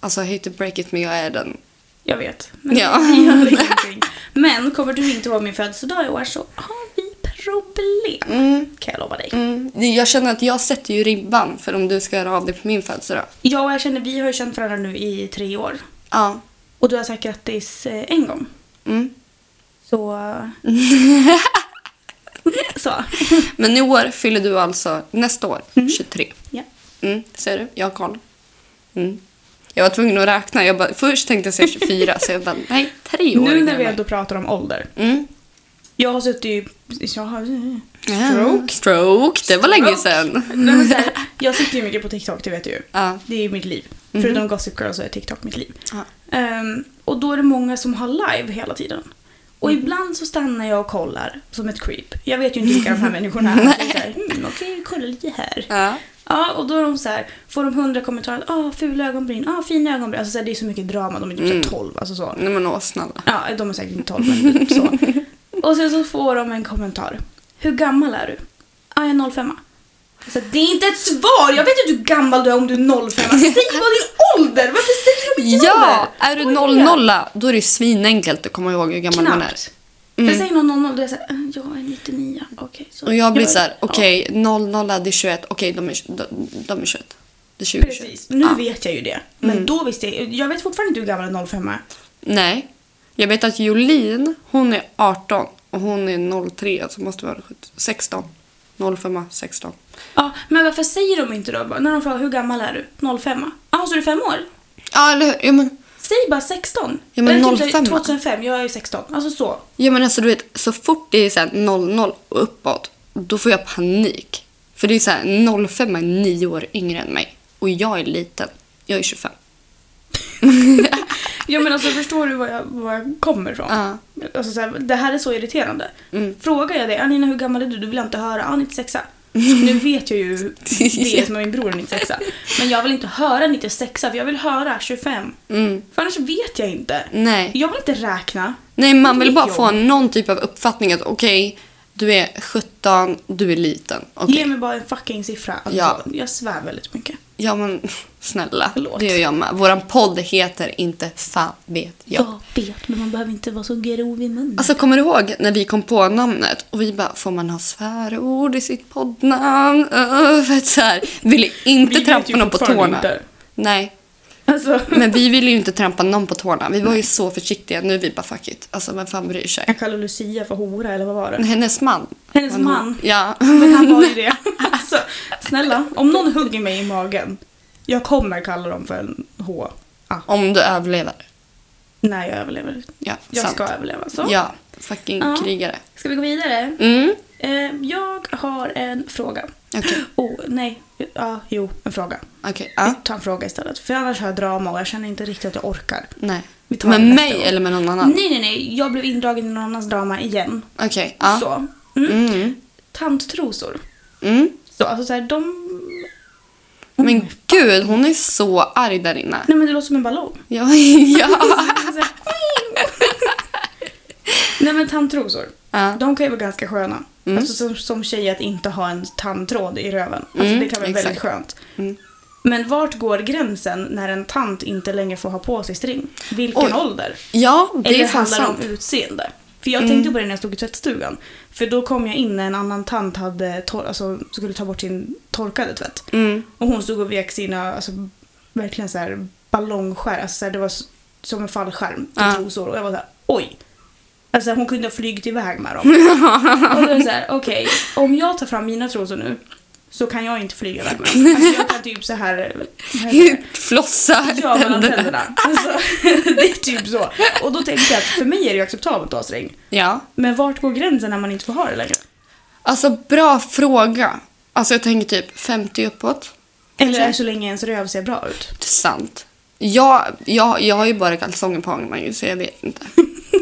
Alltså, I hate to break it, men jag är den.
Jag vet. Men
Ja.
det gör ingenting. Men kommer du inte ihåg min födelsedag i år så har vi problem. Kan jag lova dig.
Mm. det- Jag känner att jag sätter ju ribban för om du ska höra av dig på min födelsedag.
Jag och jag känner, vi har ju känt varandra nu i tre år.
Ja.
Och du har sagt grattis eh, en gång.
Mm.
Så... så.
Men i år fyller du alltså, nästa år, 23.
Ja.
Mm, ser du? Jag har koll. Mm. Jag var tvungen att räkna. Jag bara, först tänkte jag säga 24, så jag bara, nej, tre år
Nu när vi
gammal.
ändå pratar om ålder.
Mm.
Jag har suttit i... Jag har...
Stroke. Stroke. Det var länge sedan.
Nej, men så här, Mhm. jag sitter ju mycket på TikTok, det vet du ju.
Ja.
Det är ju mitt liv. Förutom Gossip Girl så är TikTok mitt liv.
Ja.
Ehm, och då är det många som har live hela tiden. Och ibland så stannar jag och kollar som ett creep. Jag vet ju inte vilka de här människorna är. Så det är så här, Mm, Okej, kolla lite här.
Ja.
Ja, och då är de så här, får de hundra kommentarer. Ah, fula ögonbryn. Ah, fina ögonbryn. Alltså så här, det är så mycket drama. De är typ mm. 12, alltså så.
Nej men åh snälla.
Ja, de är säkert inte 12, men typ så. Och sen så får de en kommentar. Hur gammal är du? Ja, jag är 05. Så det är inte ett svar! Jag vet inte hur gammal du är om du är 05. Säg vad din ålder! Varför säger du inte din
Ja!
ålder?
Är du
Vad
00 då är det svinenkelt att komma ihåg hur gammal man är. Mm.
Knappt. För säger någon 00 då är jag såhär, "Eh, jag är 99. Okej. så
Och jag blir så här,
ja,
okej, 00 det är 21, okej de, är, de, de är 21. Det är 20, 21.
Precis, nu
Ja. Mm.
vet jag ju det. Men då visste jag Jag vet fortfarande inte hur gammal en 05 är.
Nej. Jag vet att Jolin, hon är 18 och hon är 03, alltså måste vara 17, 16. 05, 16.
Ja, men varför säger de inte då? Bara, När de frågar hur gammal är du? 05? Jaha, så är du fem år?
Ja, eller hur? Ja, men,
Säg bara 16.
Ja, men
Eller typ så här,
05.
2005, jag är ju 16. Alltså så.
ja, men alltså, du vet, så fort det är så här 00 och uppåt, då får jag panik. För det är så här, 05 är nio år yngre än mig och jag är liten. Jag är 25.
Ja men alltså förstår du var jag, var jag kommer ifrån?
Ja. Mm.
Alltså, så här, det här är så irriterande. Frågar jag dig, Anina hur gammal är du? Du vill jag inte höra. Ah, 96. Nu vet jag ju det som är min bror är 96. Men jag vill inte höra 96 för jag vill höra 25.
Mm.
För annars vet jag inte.
Nej.
Jag vill inte räkna.
Nej, man
Det är
vill bara
mitt
få
jobb.
någon typ av uppfattning att okej, du är 17, du är liten. Okej.
Ge mig bara en fucking siffra. Alltså,
Ja.
Jag svär väldigt mycket.
Ja, men snälla.
Förlåt.
Det gör jag med. Våran podd heter inte Fan vet jag.
Jag vet, men man behöver inte vara så grov i munnen.
Alltså kommer du ihåg när vi kom på namnet och vi bara får man ha svärord i sitt poddnamn? Uh, för att så här, ville inte
vet ju
trampa någon på
fortfarande
tårna.
inte.
Nej,
Alltså,
men vi ville ju inte trampa någon på tårna. Vi var ju så försiktiga. Nu är vi bara fuck it. Alltså vem fan bryr sig?
jag kallar Lucia för hora eller vad var det?
Hennes man.
Hennes
Men hon-
man.
Ja.
Men han var ju det. Alltså, snälla, om någon hugger mig i magen, jag kommer kalla dem för en H. Ah,
Om du överlever.
när jag överlever.
Ja,
Jag
sant.
ska överleva. Så.
Ja, fucking
Ja.
krigare.
Ska vi gå vidare?
Mm,
Eh, jag har en fråga.
okej.
Oh, nej. Ja, jo, en fråga.
Okej, ja.
Ta en fråga istället. För annars har jag drama och jag känner inte riktigt att jag orkar.
Nej.
Vi tar
Med
den
mig
nästa gång.
eller med någon annan?
Nej, nej, nej. Jag blev indragen i någon annans drama igen.
Okej, ja.
Så. Mm.
Mm.
Tanttrosor.
Mm.
Så, alltså så här, de... Mm.
Men gud, hon är så arg där inne.
Nej, men det låter som en ballong.
Ja, ja.
Nej men tandtrosor,
Ja.
de kan ju vara ganska sköna.
Mm.
Alltså som, som tjej att inte ha en tandtråd i röven. Alltså
Mm,
det kan vara väldigt
exakt.
skönt.
Mm.
Men vart går gränsen när en tant inte längre får ha på sig string? Vilken
Oj.
ålder?
ja, det är
Eller
fan
handlar det
sant. Mm.
om utseende? För jag tänkte på det när jag stod i tvättstugan. För då kom jag in när en annan tant hade tor- alltså, skulle ta bort sin torkade tvätt.
Mm.
Och hon stod och vek sina, alltså, verkligen så här ballongskärm. Alltså, så här, det var s- som en fallskärm till
Ja.
trosor. Och jag var så här, oj. Alltså hon kunde ha flugit iväg med dem. och då är det så här, okej, om jag tar fram mina trosor nu så kan jag inte flyga iväg med dem. Alltså jag kan typ så här... vad heter det?
Flossa
Ja, mellan
tänderna.
tänderna. Alltså, det är typ så. Och då tänkte jag att för mig är det ju acceptabelt att ha sträng.
Ja.
Men vart går gränsen när man inte får ha det längre?
Alltså, bra fråga. Alltså, jag tänker typ 50 uppåt.
Eller är så länge ens röv ser bra ut?
Det är sant. Jag, jag, jag har ju bara kalsonger på mig ju, så jag vet inte.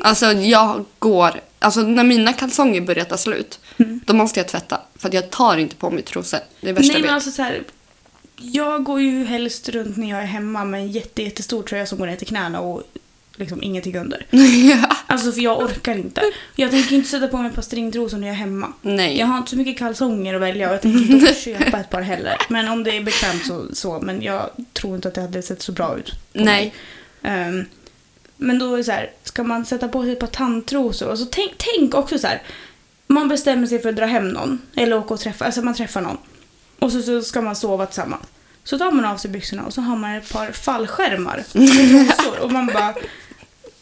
Alltså jag går... Alltså när mina kalsonger börjar ta slut, då måste jag tvätta. För att jag tar inte på mig trosor. Det är värsta
Mm. Nej
jag vet.
men alltså så här. Jag går ju helst runt när jag är hemma med en jätte, jättestor tröja som går ner till knäna och liksom ingenting under.
Ja.
Alltså för jag orkar inte. Jag tänker inte sätta på mig ett par stringtrosor när jag är hemma.
Nej.
Jag har inte så mycket kalsonger att välja och jag tänker inte köpa ett par heller. Men om det är bekvämt så, så. Men jag tror inte att det hade sett så bra ut. på
Nej.
mig. Ehm, men då är det så här, ska man sätta på sig ett par tandtrosor? Och så tänk, tänk också så här, man bestämmer sig för att dra hem någon. Eller åka och träffa, alltså man träffar någon. Och så, så ska man sova tillsammans. Så tar man av sig byxorna och så har man ett par fallskärmar. med trosor. och man bara,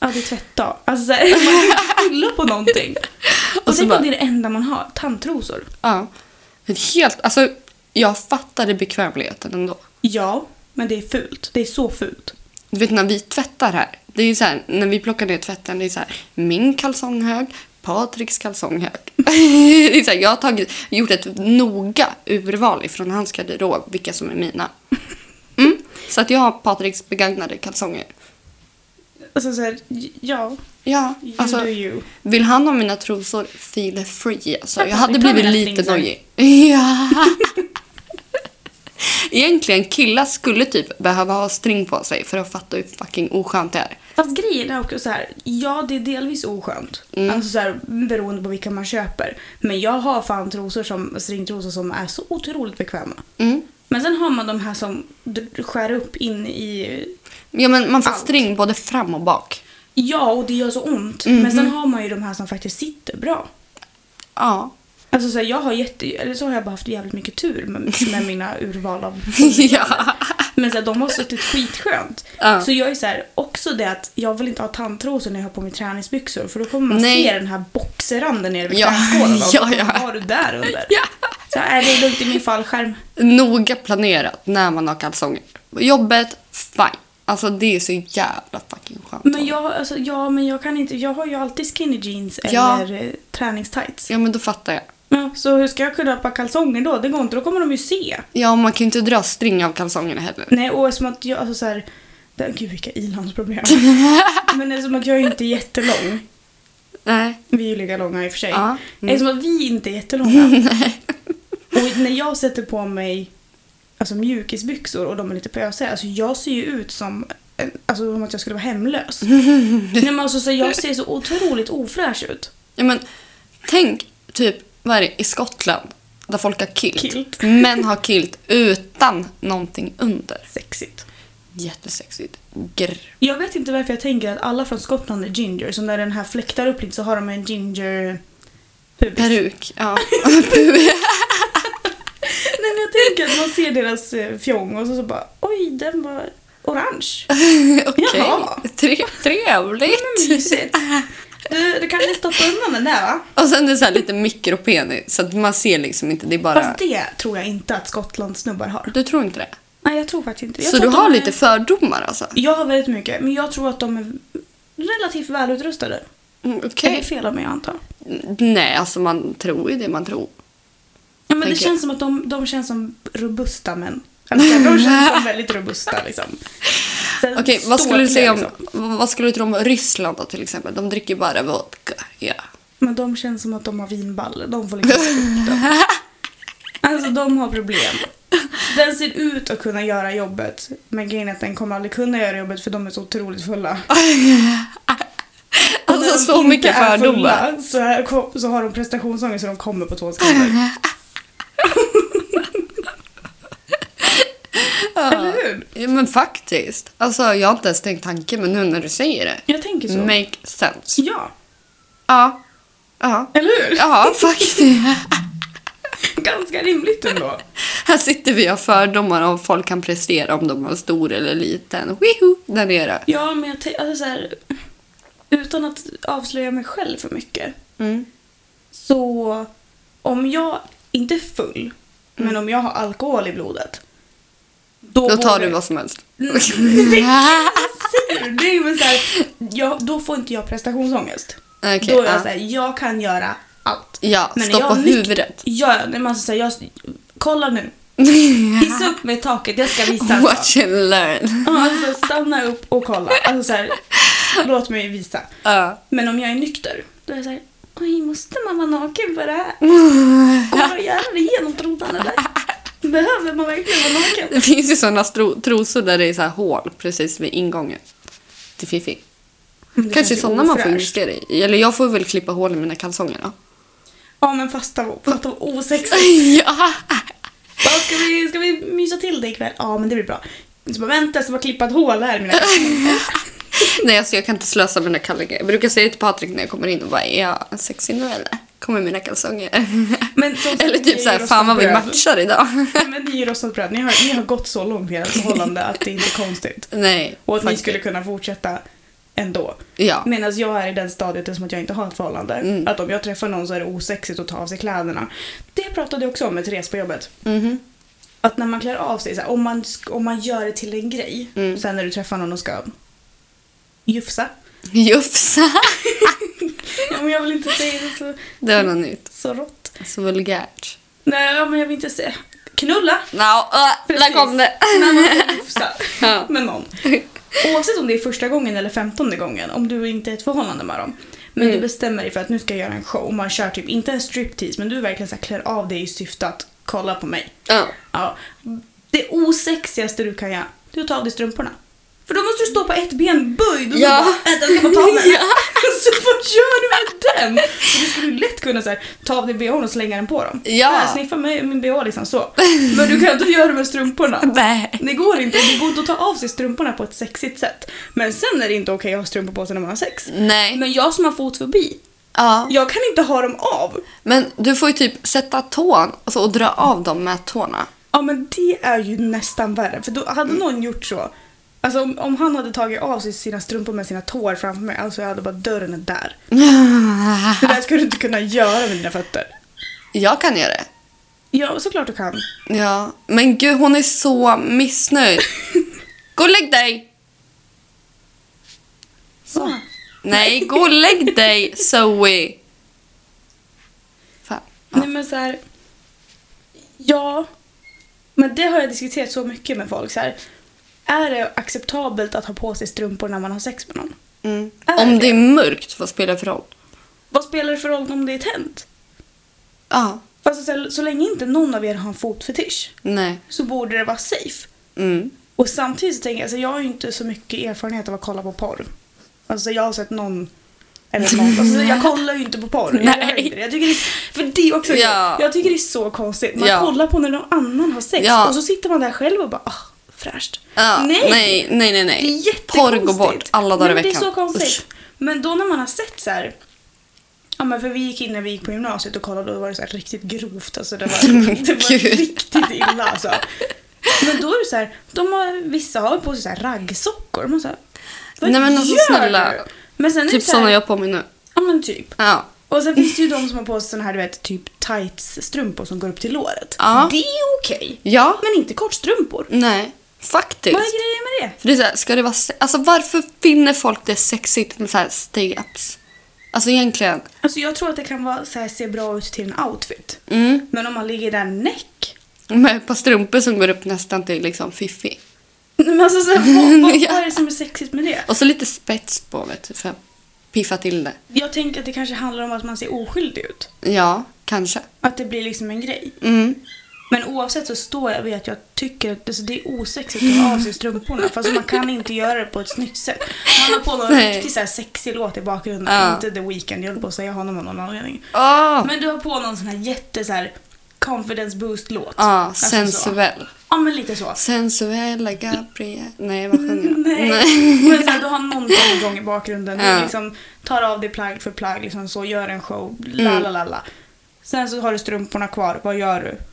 ja det är tvättdag. Alltså så här, man kan skylla på någonting. Och,
Och så
tänk
bara-
om det är det enda man har, tandtrosor.
Ja. Men Helt, alltså, jag fattade bekvämligheten ändå.
Ja, men det är fult. Det är så fult.
Du vet när vi tvättar här. Det är ju så här, när vi plockar ner tvätten, det är så här, min kalsonghög, Patriks kalsonghög. det är så här, jag har tagit, gjort ett noga urval ifrån hans garderob, vilka som är mina. Mm. Så att jag har Patriks begagnade kalsonger.
Alltså så här, j- ja,
Ja,
you
alltså,
do you.
vill han ha mina trosor, feel free. Alltså, jag hade
Vi tar
blivit
mina
lite
stringsar.
nojig. Ja. Egentligen, killar skulle typ behöva ha string på sig för att fatta hur fucking oskönt det är.
Fast grejen är också så här, ja det är delvis oskönt.
Mm.
Alltså så här, beroende på vilka man köper. Men jag har fan trosor som, stringtrosor som är så otroligt bekväma.
Mm.
Men sen har man de här som dr- skär upp in i...
Ja, men man får
Allt.
string både fram och bak.
Ja, och det gör så ont.
Mhm.
Men sen har man ju de här som faktiskt sitter bra.
Ja.
Alltså så här, jag har jätte... Eller så har jag bara haft jävligt mycket tur med, med mina urval av...
ja.
Men så här, de har suttit skitskönt.
Ja.
Så jag är så här, också det att jag vill inte ha tandtrosor när jag har på mig träningsbyxor. För då kommer man
Nej.
se den här boxeranden nere vid
Ja.
knäskålen. och
Ja, ja.
Vad har du där under?
Ja.
Så här, är det lugnt i min fallskärm?
Noga planerat när man har kalsonger. Jobbet, fine. Alltså det är så jävla fucking skönt.
Men jag, alltså, ja, men jag kan inte. Jag har ju alltid skinny jeans
Ja.
eller eh, träningstights.
Ja, men då fattar jag.
Ja, så hur ska jag kunna ha ett par kalsonger då? Det går inte, då kommer de ju se.
Ja, man kan ju inte dra string av kalsongerna heller.
Nej, och som att jag, alltså så här, det, gud vilka ilandsproblem. Men det är som att jag är inte jättelång.
Nej.
Vi är ju lika långa i och för sig.
Ja, mm.
Det är som att vi inte är jättelånga. och när jag sätter på mig alltså, mjukisbyxor och de är lite pösiga, alltså jag ser ju ut som en- Alltså som att jag skulle vara hemlös. Nej, men alltså, så jag ser så otroligt ofräsch ut.
Ja, men tänk typ, vad är det, i Skottland? Där folk har kilt.
Kilt.
Män har kilt utan någonting under.
Sexigt.
Jättesexigt. Grr.
Jag vet inte varför jag tänker att alla från Skottland är ginger, så när den här fläktar upp lite så har de en ginger... pubis.
Peruk. Ja.
Nej men jag tänker att man ser deras eh, fjong och så, så bara oj den var orange.
Okej.
Jaha. Mm.
Tre-
Men
Trevligt.
mysigt. Du, du kanske stoppar undan den där va?
Och sen det är så här lite mikropenis så att man ser liksom inte. Det är bara...
Fast det tror jag inte att Skottlands snubbar har.
Du tror inte det?
Nej jag tror faktiskt inte det. jag
så du
tror att
har
de är-
lite fördomar alltså?
Jag har väldigt mycket men jag tror att de är relativt välutrustade.
Mm,
Är
Okej.
det fel av mig jag antar?
Mm, Nej, alltså man tror ju det man tror.
Ja men det
Tänker-
känns som att de, de känns som robusta män. Alltså, de känns som väldigt robusta liksom. Så här
Okej, vad skulle du
ståtliga,
säga om...
liksom.
Vad skulle du tro om Ryssland då till exempel? De dricker bara vodka. Ja.
Men de känns som att de har vinballer. De får liksom upp dem. Alltså de har problem. Den ser ut att kunna göra jobbet. Men grejen är att den kommer aldrig kunna göra jobbet för de är så otroligt fulla. Och när
Alltså
de
så
inte
mycket
är
fördomar.
fulla Så, här, ko- så har de prestationsångest så de kommer på två sekunder. Eller hur?
Ja men faktiskt. Alltså jag har inte ens tänkt tanken men nu när du säger det.
Jag tänker så.
Make sense.
Ja,
Ja. Ja.
eller hur?
Ja faktiskt.
Ganska rimligt ändå.
Här sitter vi och har fördomar om folk kan prestera om de var stor eller liten. Wiho! Där nere.
Ja, men jag tänker alltså, så här, Utan att avslöja mig själv för mycket.
Mm.
Så om jag, inte är full, men om jag har alkohol i blodet.
Då tar
vågar-
du vad som helst.
Nej, det är ju- det är ju men så här, jag, Då får inte jag prestationsångest.
Okej.
då är jag
ja.
så här, jag kan göra allt.
ja,
Men när
stoppa
jag nyk-
huvudet.
Ja, ja, nej, men alltså, så här, jag, kolla nu. Hissa upp mig i taket, jag ska visa. en sak.
Watch and learn.
Ja, Alltså, stanna upp och kolla. Alltså, så här, låt mig visa.
Ja.
Men om jag är nykter, då är jag så här, oj, måste man vara naken för det här? Går det att göra det genomtrodande eller? Behöver man verkligen vara naken?
Det finns ju såna stro- trosor där det är så här hål precis vid ingången till Fifi.
Det känns
Kanske
ju
såna man får
ofräscht.
investera i. Eller jag får väl klippa hål i mina kalsonger då.
Ja men fasta fatta vad osexigt.
ja.
Bara, Ska vi, ska vi mysa till det ikväll? Ja men det blir bra. Så bara, vänta, jag ska bara klippa ett hål här i mina
Nej, alltså jag kan inte slösa mina kallingar. Jag brukar säga till Patrik när jag kommer in och bara är jag en sexig nu eller? Kommer mina kalsonger?
Men som sagt,
eller
det är
typ
ju
så här,
rostat
fan vad vi
bröd.
matchar idag.
Men det är ju rostat bröd. Ni har, ni har gått så långt i ert förhållande att det inte är konstigt.
Nej.
Och att ni
faktiskt.
skulle kunna fortsätta ändå.
Ja.
Medan jag är i den stadiet eftersom att jag inte har ett förhållande.
Mm.
Att om jag träffar någon så är det osexigt att ta av sig kläderna. Det pratade jag också om med Therese på jobbet.
Mhm.
Att när man klär av sig, så här, om, man, sk- om man gör det till en grej.
Mm.
Sen när du träffar någon och ska jufsa.
Jufsa.
Ja, men jag vill inte säga det så,
Det var något nytt.
så rått.
Så vulgärt.
Nej, ja, men jag vill inte säga... Knulla!
No, uh, där
Precis.
kom det.
När man ska jufsa
Ja.
med någon. Oavsett om det är första gången eller femtonde gången, om du inte är i ett förhållande med dem. Men
Mm.
du bestämmer dig för att nu ska jag göra en show. Man kör typ, inte en striptease, men du verkligen så här klär av dig i syfte att kolla på mig.
Ja.
Ja. Det osexigaste du kan göra, du tar av dig strumporna. För då måste du stå på ett ben böjd och så
Ja.
bara “vänta, jag ska bara ta mig”.
Ja.
Så vad gör du med den? Så du skulle ju lätt kunna så här, ta av dig bhn och slänga den på dem.
Ja.
Här, sniffa mig, min bh liksom så. Men du kan inte göra det med strumporna.
Nej.
Det går inte. Det går inte att ta av sig strumporna på ett sexigt sätt. Men sen är det inte okej att ha strumpor på sig när man har sex.
Nej.
Men jag som har fotfobi,
ja.
jag kan inte ha dem av.
Men du får ju typ sätta tån alltså, och dra av dem med tårna.
Ja men det är ju nästan värre. För då hade någon gjort så. Alltså om, om han hade tagit av sig sina strumpor med sina tår framför mig, alltså jag hade bara dörren är där. Det där skulle du inte kunna göra med dina fötter.
Jag kan göra det.
Ja, såklart du kan.
Ja. Men gud, hon är så missnöjd. Gå och lägg dig!
Så.
Nej, gå och lägg dig, Zoe! Fan.
Nej men så här. Ja. Men det har jag diskuterat så mycket med folk så här. Är det acceptabelt att ha på sig strumpor när man har sex med någon?
Mm.
Är
Om
det?
det är mörkt, vad spelar det för roll?
Vad spelar det för roll om det är tänt?
Ja.
Alltså, så, här, så länge inte någon av er har en fotfetisch
Nej.
så borde det vara safe.
Mm.
Och samtidigt så tänker jag, alltså, jag har ju inte så mycket erfarenhet av att kolla på porr. Alltså jag har sett någon, eller någon, alltså, jag kollar ju inte på porr. Jag, gör
Nej.
inte det. jag tycker det är, för det är också,
Ja.
jag tycker det är så konstigt. Man
Ja.
kollar på när någon annan har sex
Ja.
och så sitter man där själv och bara, ah, fräscht.
Ja,
nej.
nej, nej, nej, nej.
Det är
Porr
jättekonstigt.
går bort alla dagar
Nej,
i
men
veckan.
Det är så konstigt.
Usch.
Men då när man har sett så här, Ja men för vi gick in när vi gick på gymnasiet och kollade och då var det så här riktigt grovt alltså. Det var, det var
Gud.
riktigt illa alltså. Men då är det så här, de har, vissa har på sig så här raggsockor. Man så här, vad
Nej, men alltså,
gör
snälla.
du? Men sen är det
Typ
så här,
såna jag har på mig nu.
Ja men typ.
Ja.
Och sen finns det ju de som har på sig såna här du vet typ tights-strumpor som går upp till låret.
Ja.
Det är okej.
Ja.
Men inte kortstrumpor.
Nej. Faktiskt.
Vad är grejen med det?
För det är så här, ska det vara se- alltså varför finner folk det sexigt med så här stay-ups? Alltså egentligen,
Alltså jag tror att det kan vara så här, se bra ut till en outfit.
mm,
Men om man ligger där näck.
med ett par strumpor som går upp nästan till liksom fiffi.
Nej, Men alltså, så här, vad, vad,
Ja.
vad är det som är sexigt med det?
Och så lite spets på vet du, för att piffa till det.
Jag tänker att det kanske handlar om att man ser oskyldig ut.
Ja, kanske.
Att det blir liksom en grej.
Mm.
Men oavsett så står jag vid att jag tycker att alltså, det är osexigt att ha av sig strumporna. Fast man kan inte göra det på ett snyggt sätt. Man har på någon
Nej.
riktigt så här sexig låt i bakgrunden.
Ja.
Inte The Weeknd, jag höll på att säga honom av någon anledning.
Åh!
Men du har på någon sån här jätte så här confidence boost-låt.
Ja,
Alltså, så.
ah, sensuell.
Ja, men lite så.
Sensuella Gabriel. Nej, vad sjunger jag?
Nej. Men sen, du har någonting igång i bakgrunden. Du
Ja.
liksom tar av dig plagg för plagg, liksom så, gör en show,
Mm.
la la la la. Sen så har du strumporna kvar, vad gör du?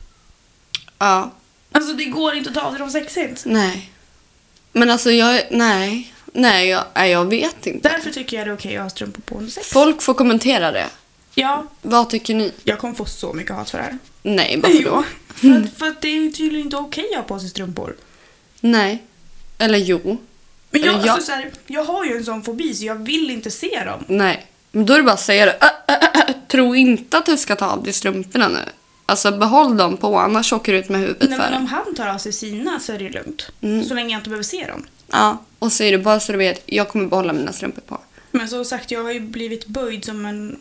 Ja,
Alltså det går inte att ta av sig dem sexigt.
nej. Men alltså jag, nej. Nej, jag, nej, jag vet inte.
Därför tycker jag det är okej att ha strumpor på under sex.
Folk får kommentera det.
Ja,
Vad tycker ni?
jag kommer få så mycket hat för det här.
Nej, varför då?
Jo, För att, för att det är tydligen inte okej att ha på sig strumpor.
Nej. Eller jo.
Men jag,
Men jag-
Alltså, så här, jag har ju en sån fobi så jag vill inte se dem.
Nej. Men då är det bara att säga det. Ä, ä, ä, ä. Tro inte att du ska ta av dig strumporna nu. Alltså behåll dem på annars åker du ut med huvudet
Nej,
för
men
det.
om han tar av sig sina så är det ju lugnt.
Mm.
Så länge jag inte behöver se dem.
Ja. Och säger du bara så du vet, jag kommer behålla mina strumpor på.
Men som sagt, jag har ju blivit böjd som en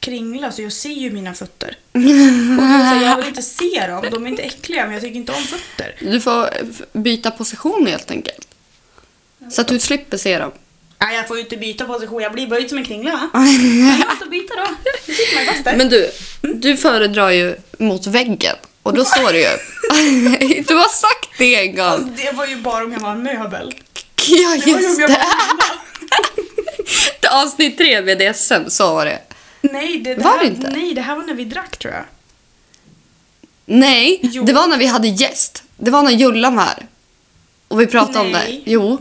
kringla så jag ser ju mina fötter. Och det är så här, jag vill inte se dem, de är inte äckliga men jag tycker inte om fötter.
Du får eh, f- byta position helt enkelt. Så att du slipper se dem.
Nej jag får ju inte byta position, jag blir böjd som en kringla. Jag kan inte byta då. Det sitter man fast där.
Men du, du föredrar ju mot väggen. Och då står du ju upp. Du har sagt det en
Fast
gång.
det var ju bara om jag var en möbel.
Ja,
Det var ju om
just
jag var
det.
en kringla.
Avsnitt tre BDSM, så var det.
Nej det, det
Var
här,
det inte?
Nej, det här var när vi drack tror jag.
Nej,
Jo.
det var när vi hade gäst. Det var när Jullan var här. Och vi pratade
Nej.
om det. Jo.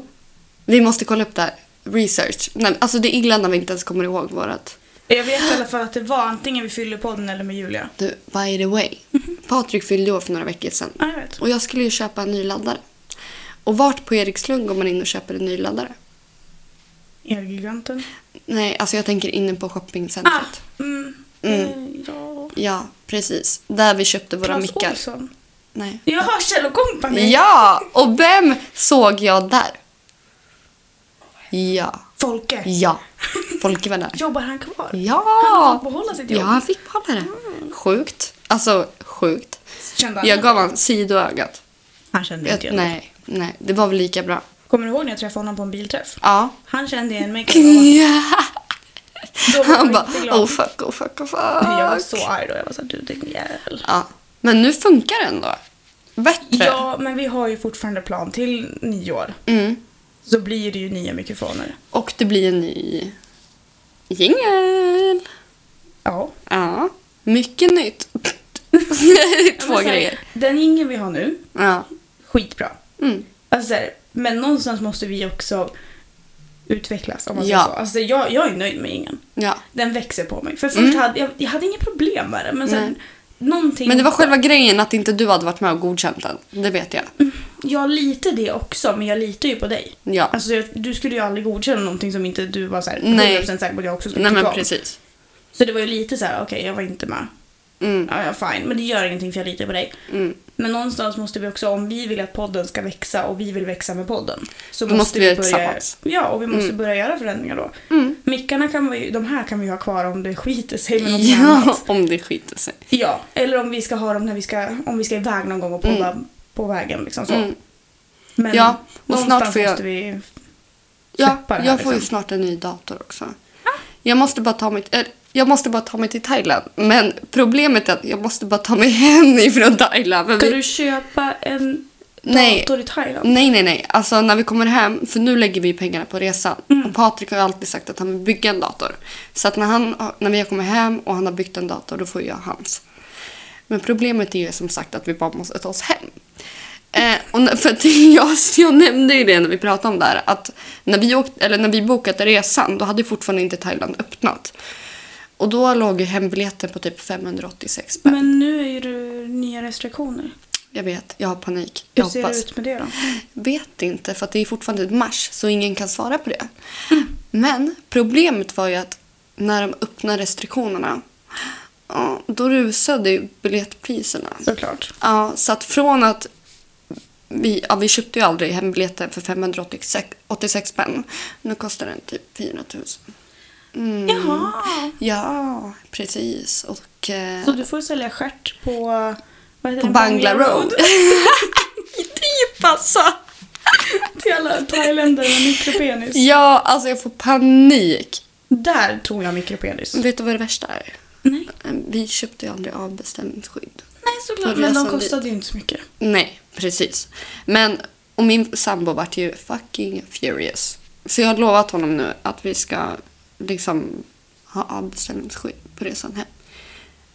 Vi måste kolla upp det här. Research. Nej, alltså det är illa när vi inte ens kommer ihåg vårat.
Jag vet i alla fall att det var antingen vid Fyllepodden eller med Julia.
Du, by the way. Patrik fyllde år för några veckor sedan.
Ja, jag vet.
Och jag skulle ju köpa en ny laddare. Och vart på Erikslund går man in och köper en ny laddare?
Elgiganten.
Nej, alltså jag tänker inne på shoppingcentret.
Ah! Mm. Eh, Ja.
Ja, precis. Där vi köpte våra
Clas
mickar.
Ohlson.
Nej.
Jag har Kjell och Company.
Ja, och vem såg jag där? Ja.
Folke.
Ja. Folke var där.
Jobbar han kvar?
Ja!
Han har fått behålla sitt jobb.
Ja, han fick behålla det. Sjukt. Alltså, sjukt.
Kände han
Jag gav han sidoögat.
Han kände
Jag,
inte jag.
nej, nej. Det var väl lika bra.
Kommer du ihåg när jag träffade honom på en bilträff?
Ja.
Han kände igen mig. kan jag lova. Då var
Han
jag
bara
inte glad.
oh fuck, oh fuck, oh fuck.
Jag var så arg då. Jag var såhär, du din jävel.
Ja. Men nu funkar det ändå. Bättre.
Ja, men vi har ju fortfarande plan till nyår.
Mm.
Så blir det ju nya mikrofoner.
Och det blir en ny jingel.
Ja.
Ja. Mycket nytt. Två
Men så här,
grejer.
Den ingen vi har nu,
Ja.
skitbra.
Mm.
Alltså, så här, men någonstans måste vi också utvecklas om man
Ja.
säger så. Alltså, jag, jag är nöjd med ingen.
ja.
Den växer på mig. För först hade jag, jag hade inga problem med det men sen
Mm. Nej.
någonting...
Men det var själva grejen att inte du hade varit med och godkänt den. Det vet jag.
Jag litar det också men jag litar ju på dig.
Ja.
Alltså jag, du skulle ju aldrig godkänna någonting som inte du var så här,
Nej.
100% säker på att jag också skulle
Nej men
tycka om.
precis.
Så det var ju lite så här: okej jag var inte med.
Mm.
Ja, ja fine. Men det gör ingenting för jag litar på dig.
Mm.
Men någonstans måste vi också, om vi vill att podden ska växa och vi vill växa med podden. Så
Då måste vi göra det tillsammans.
Ja, och vi måste börja göra förändringar då.
Mm.
Mickarna kan vi, de här kan vi ha kvar om det skiter sig med något
Ja,
annat.
om det skiter sig.
Ja, eller om vi ska ha dem när vi ska, om vi ska iväg någon gång och podda på vägen liksom så.
Mm.
Men
Ja, och
någonstans
snart får jag-
måste vi...
Ja,
släppa det
jag
här,
får ju
liksom.
snart en ny dator också. Jag måste bara ta mig, eller, jag måste bara ta mig till Thailand. Men problemet är att jag måste bara ta mig hem ifrån Thailand. Men
Ska
vi,
du köpa en
Nej.
dator i Thailand?
Nej, nej, nej. Alltså när vi kommer hem, för nu lägger vi pengarna på resan.
Mm.
Och Patrik har ju alltid sagt att han vill bygga en dator. Så att när, han, har- när vi kommer hem och han har byggt en dator, då får jag hans. Men problemet är ju som sagt att vi bara måste ta oss hem. Eh, och när, för att jag, jag nämnde ju det när vi pratade om det här, att när vi, åkt, eller när vi bokade resan, då hade ju fortfarande inte Thailand öppnat. Och då låg ju hembiljetten på typ 586 spänn.
Men nu är ju det nya restriktioner.
Jag vet, jag har panik.
Hur
Jag
ser
hoppas.
det ut med det då?
Vet inte, för att det är fortfarande mars så ingen kan svara på det.
Mm.
Men problemet var ju att när de öppnade restriktionerna ja, då rusade ju biljettpriserna.
Såklart.
Ja, så att från att vi, ja, vi köpte ju aldrig hembiljetten för 586 86 spänn. Nu kostar den typ 4 000. Mm.
Jaha!
Ja, precis. Och, eh,
Så du får sälja stjärt på... Vad heter
på
det?
Bangla Road. typ alltså.
Till alla thailändare med mikropenis.
Ja, alltså jag får panik.
Där tog jag mikropenis.
Vet du vad det värsta är?
Nej.
Vi köpte ju aldrig av beställningsskydd.
Nej, såklart.
På
Men de
resan
kostade ju inte så mycket.
Nej, precis. Men, och min sambo vart ju fucking furious. Så jag har lovat honom nu att vi ska liksom ha av beställningsskydd på resan hem.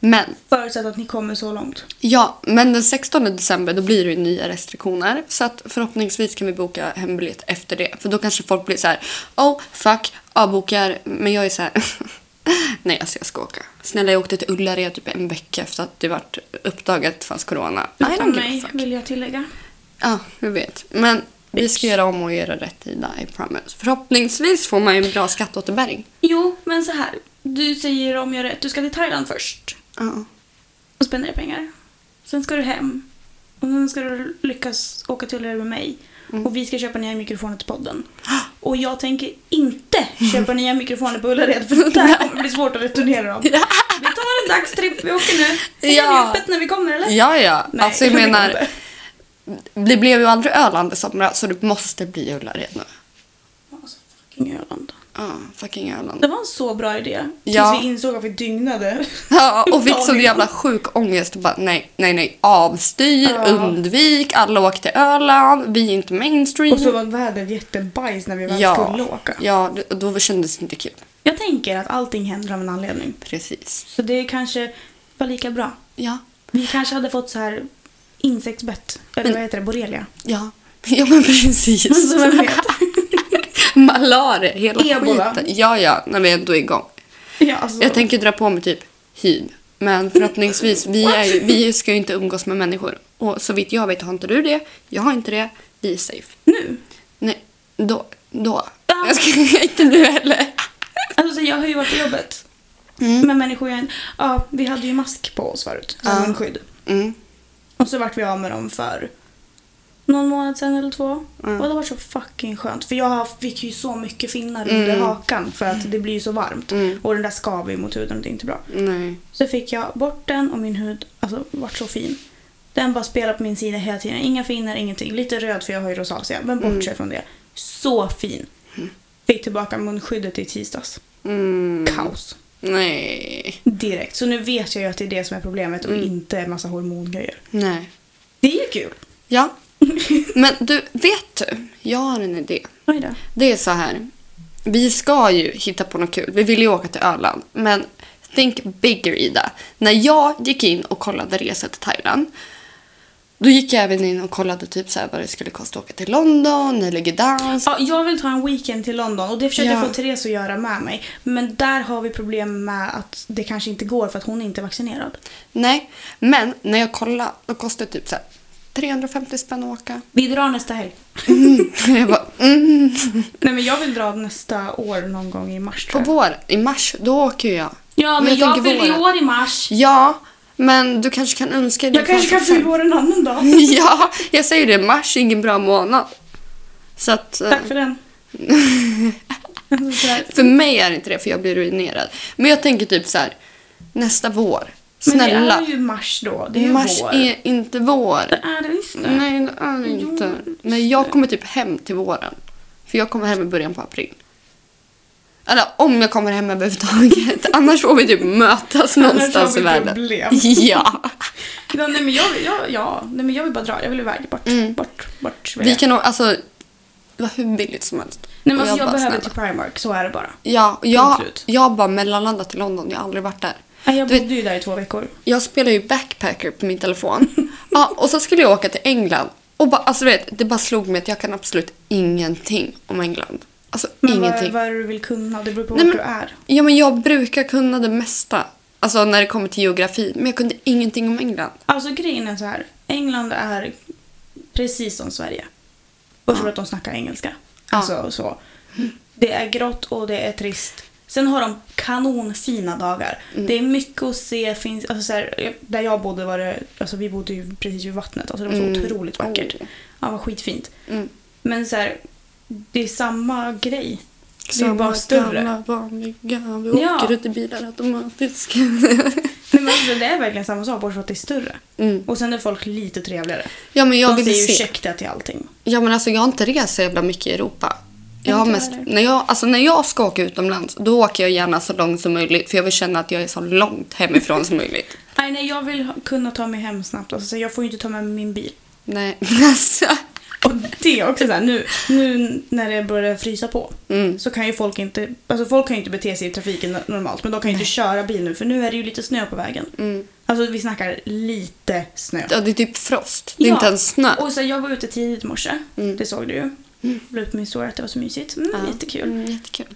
Men,
Förutsatt att ni kommer så långt.
ja, men den 16 december då blir det ju nya restriktioner. Så att förhoppningsvis kan vi boka hembiljett efter det. För då kanske folk blir så här: oh fuck, avbokar. Men jag är så här. Nej, alltså jag ska åka. Snälla, jag åkte till Ullared typ en vecka efter att det vart uppdagat att det fanns corona. I
Utan
don't give a
mig,
fuck.
vill jag tillägga.
Ja, jag vet. Men vi ska göra om och göra rätt Ida, I promise. Förhoppningsvis får man ju en bra skatteåterbäring.
Jo, men så här. Du säger om jag rätt, du ska till Thailand först
Ja.
och spendera pengar. Sen ska du hem. Och sen ska du lyckas åka till Ullared med mig.
Mm.
Och vi ska köpa nya mikrofoner till podden. Och jag tänker inte köpa nya mikrofoner på Ullared för det här kommer bli svårt att returnera dem. Vi tar en dagstripp, vi åker nu. Sen
Ja.
är det öppet när vi kommer eller?
Ja, ja.
Nej,
alltså jag
det går
menar,
inte.
det blev ju aldrig Öland i somras så det måste bli Ullared nu.
Alltså, fucking Öland.
Ja, fucking
Det
Öland.
var en så bra idé.
Ja.
Tills vi insåg att vi dygnade.
Ja, och fick sån jävla sjuk ångest och bara nej, nej, nej. Avstyr,
Ja.
undvik, alla åker till Öland, vi är inte mainstream.
Och så var vädret jättebajs när vi väl skulle
ja,
åka.
ja, det- och då kändes det inte kul.
Jag tänker att allting händer av en anledning.
Precis.
Så det kanske var lika bra.
Ja,
Vi kanske hade fått så här insektsbett.
Mm.
Eller vad heter det? Borrelia.
ja. Ja men precis.
Så vem vet?
Malaria, hela
Ebola.
skiten. Ja, ja, när vi ändå är igång.
Ja, alltså,
Jag tänker dra på mig typ hiv. Men förhoppningsvis, vi, är, ju- vi ska ju inte umgås med människor. Och så vitt jag vet har inte du det, jag har inte det, vi är safe.
nu.
Nej, då. då.
Ja.
Jag ska inte nu heller.
Alltså, så jag har ju varit på jobbet. Med människor jag... Ja, vi hade ju mask på oss förut.
Mm. Ja.
Ja. skydd.
Mm.
Och så vart vi av med dem för någon månad sen eller två.
Mm.
Och det var så fucking skönt. För jag har- fick ju så mycket finnar under hakan för att det blir ju så varmt.
Mm.
Och den där skaver ju mot huden och det är inte bra.
Nej.
Så fick jag bort den och min hud alltså, vart så fin. Mm. Den bara spelade på min sida hela tiden. Inga finnar, ingenting. Lite röd för jag har ju rosacea, men bortse från det. så fin. Fick tillbaka munskyddet i tisdags.
Mm.
Kaos.
Nej.
Direkt. Så nu vet jag ju att det är det som är problemet och inte en massa hormongrejer.
Nej.
Mm. Det är ju kul.
Ja. Men du, vet du? Jag har en idé.
Oj då.
Det är så här. Vi ska ju hitta på något kul. Vi vill ju åka till Öland. Men think bigger, Ida. När jag gick in och kollade resor till Thailand. Då gick jag även in och kollade typ så här vad det skulle kosta att åka till London eller Gdansk.
Ja, jag vill ta en weekend till London och det försökte
Ja.
jag få Therese att göra med mig. Men där har vi problem med att det kanske inte går för att hon är inte är vaccinerad.
Nej, men när jag kollade då kostade det typ så här 350 spänn att åka.
Vi drar nästa helg.
Jag bara, mm.
Nej men jag vill dra nästa år någon gång i mars
På
tror jag.
vår, i mars, då åker jag.
Ja men jag,
tänker
fyller
våren.
ju år i mars.
Ja, men du kanske kan önska dig
Jag kanske kan fylla år en annan dag.
Ja, jag säger det. Mars är ingen bra månad. Så att, eh,
Tack för den. Sådär.
för mig är det inte det, för jag blir ruinerad. Men jag tänker typ så här, nästa vår.
Men det
Snälla.
är ju mars då. Det är ju
mars
vår.
är inte vår.
Det är det visst det.
Nej, det är det
Jo,
inte.
just
Men jag kommer typ hem till våren. För jag kommer hem i början på april. Eller om jag kommer hem överhuvudtaget. Annars får vi typ mötas
Annars
någonstans
har
i
vi
världen.
problem.
Ja.
Ja, nej, men jag, jag, ja, nej men jag vill bara dra. Jag vill iväg. Bort,
Mm.
bort, bort. vill
Vi
jag.
kan nog, alltså, det var hur billigt som helst.
nej, men
Och
alltså, jag,
bara,
behöver
snälla.
till Primark, så är det bara.
Ja, och jag,
Punkt slut.
jag bara mellanlandat i London. Jag har aldrig varit där.
Nej, Jag
Du vet-
bodde ju där i två veckor.
Jag spelar ju backpacker på min telefon. ja, och så skulle jag åka till England. Och bara, alltså, du vet, det bara slog mig att jag kan absolut ingenting om England. Alltså
Men vad,
ingenting.
vad är det du vill kunna? Det beror på
Nej,
vart
men-
du är.
Ja, men jag brukar kunna det mesta. Alltså när det kommer till geografi. Men jag kunde ingenting om England.
Alltså grejen är så här. England är precis som Sverige. Bortsett från att de snackar engelska.
Ja.
Alltså så. Det är grått och det är trist. Sen har de kanonfina dagar.
Mm.
Det är mycket att se. Finns, alltså så här, där jag bodde var det, alltså vi bodde ju precis vid vattnet. Alltså det var så
Mm.
otroligt vackert.
Oh.
Ja, vad skitfint.
Mm.
Men så här, det är samma grej. Det är
Samma
bara större.
Gamla, vanliga. Vi
Ja.
åker ut i bilar automatiskt.
Nej, men alltså, det är verkligen samma sak, bortsett från att det är större.
mm.
Och sen är folk lite trevligare.
Ja, men jag
de
vill
säger
se.
ursäkta till allting.
Ja men alltså jag har inte rest så jävla mycket i Europa. Jag har
Inte
mest,
heller.
när, jag, alltså när jag ska åka utomlands då åker jag gärna så långt som möjligt för jag vill känna att jag är så långt hemifrån som möjligt.
Nej, nej, jag vill ha- kunna ta mig hem snabbt. Alltså, så jag får ju inte ta med mig min bil.
Nej, alltså.
Och det är också så här, nu, nu när det börjar frysa på
Mm.
så kan ju folk inte, alltså folk kan ju inte bete sig i trafiken normalt men de kan ju inte köra bil nu för nu är det ju lite snö på vägen.
Mm.
Alltså vi snackar lite snö.
Ja, det är typ frost, det är
Ja,
inte ens snö.
Och så jag var ute tidigt i morse,
Mm.
det såg du ju. La ut på min story att det var så mysigt. Mm,
Ja.
Jättekul.
Mm, jättekul.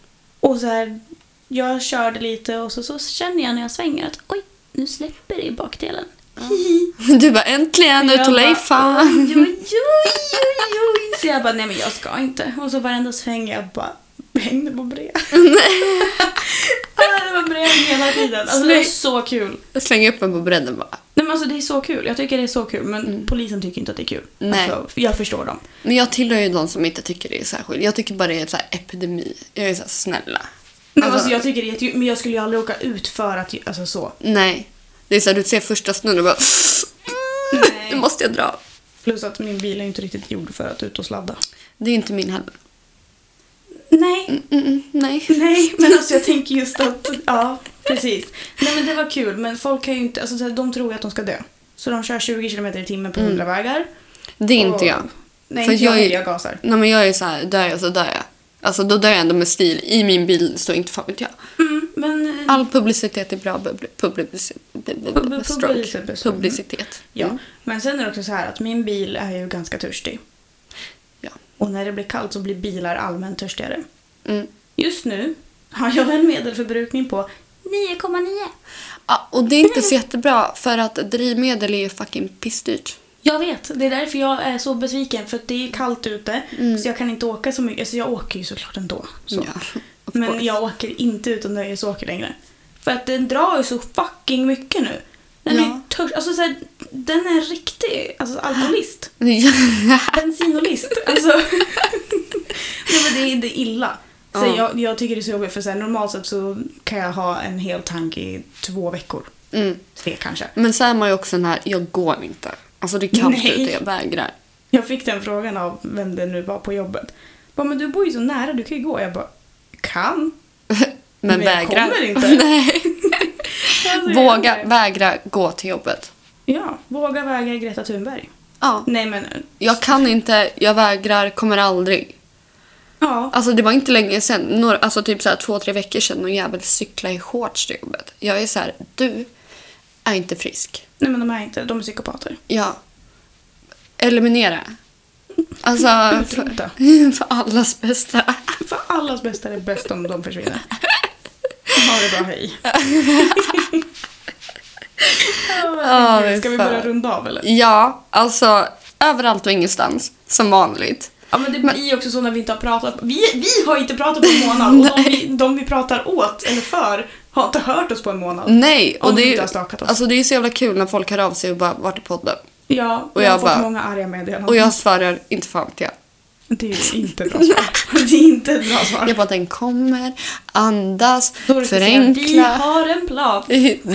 Och så här, jag körde lite och så, så känner jag när jag svänger att oj, nu släpper det i bakdelen.
Du bara äntligen ut
Jag
och
bara,
lejfa.
Oj, oj, oj, oj, oj. Så jag bara, nej men jag ska inte. Och så varenda sväng jag bara hängde på bred. Ah, det var bred hela tiden. Alltså det var
Snyggt.
så kul.
Jag slänger upp en på bredden bara.
Nej men alltså det är så kul. Jag tycker det är så kul men polisen tycker inte att det är kul.
Mm. Nej.
Alltså, jag förstår dem.
Men jag tillhör ju de som inte tycker det är särskilt. Jag tycker bara det är så här epidemi. Jag är så här snälla.
Nej, men
Alltså-
alltså, jag tycker det är jättekul men jag skulle ju aldrig åka ut för att, alltså så.
Nej. Det är så här, du ser första snön och bara...
Nej.
Nu måste jag dra.
Plus att min bil är ju inte riktigt gjord för att ut och sladda.
Det är inte min heller.
Nej,
Mm, mm, nej.
Nej, men alltså jag tänker just att, ja precis. Nej men det var kul, men folk kan ju inte, alltså de tror ju att de ska dö. Så de kör 20 km i timmen på 100 vägar.
Det är inte
Och-
jag.
Nej,
För
inte jag,
jag är-
jag, jag gasar.
Nej, men jag är så här, dör jag så dör jag. Alltså då dör jag ändå med stil. I min bil så inte fan vet jag.
Mm, men eh,
All publicitet är bra bubli- publici- bu- bu- bu-
Pub-
stroke.
publicitet.
Publicitet. Mm,
ja. Men sen är det också så här att min bil är ju ganska törstig.
Ja.
Och när det blir kallt så blir bilar allmänt törstigare.
Mm.
Just nu har jag en medelförbrukning på 9,9.
Ja, och det är inte så jättebra för att drivmedel är ju fucking pissdyrt.
Jag vet, det är därför jag är så besviken för att det är kallt ute så jag kan inte åka så mycket. Alltså jag åker ju såklart ändå. Så.
Ja, of
Men
course.
jag åker inte ut och nöjesåker längre. För att den drar ju så fucking mycket nu. Den är
Ja.
ju törs... Alltså så här, den är en riktig alltså, alkoholist. Bensinolist. Alltså. Nej, men det, är, det är illa. Så
Ja.
jag, jag tycker det är så jobbigt för så här, normalt sett så kan jag ha en hel tank i två veckor.
mm.
Tre kanske.
Men så är man ju också den här, jag går inte. Alltså det är kallt
Nej.
ute, jag vägrar.
Jag fick den frågan av vem det nu var på jobbet. Bara, Bara, men du bor ju så nära, du kan ju gå. Jag bara, kan.
Men,
Men jag
vägra.
kommer inte.
Nej.
Alltså,
Våga
jag-
vägra gå till jobbet.
Ja, våga väga Greta Thunberg.
Ja.
Nej men,
Jag kan inte, jag vägrar, kommer aldrig.
ja.
Alltså det var inte länge sedan, några, alltså typ så här två, tre veckor sedan någon jävel cyklade i shorts till jobbet. Jag är så här, du är inte frisk.
Nej men de är inte, de är psykopater.
Ja. Eliminera. Alltså
Utrota.
för, för allas bästa.
För allas bästa är det bäst om de försvinner. Ha det bra, hej.
Ja,
Gud, Ska vi
fan.
börja runda av eller?
Ja, alltså överallt och ingenstans. Som vanligt.
Ja men det blir ju också så när vi inte har pratat. Vi, vi har inte pratat på en månad och de vi, de vi pratar åt eller för har inte hört oss på en månad.
Nej, och
Om
det
vi
är,
inte
ju-
har stakat oss.
alltså det är ju så jävla kul när folk hör av sig och bara vart är podden?
Ja, och
Och
jag, har
jag
fått
bara-
många arga meddelanden.
Och jag svarar inte fan vet jag.
Det är inte ett bra svar. Det är inte ett bra svar.
Jag bara den kommer, andas,
Då är det speciellt, Vi
förenkla.
har en plan.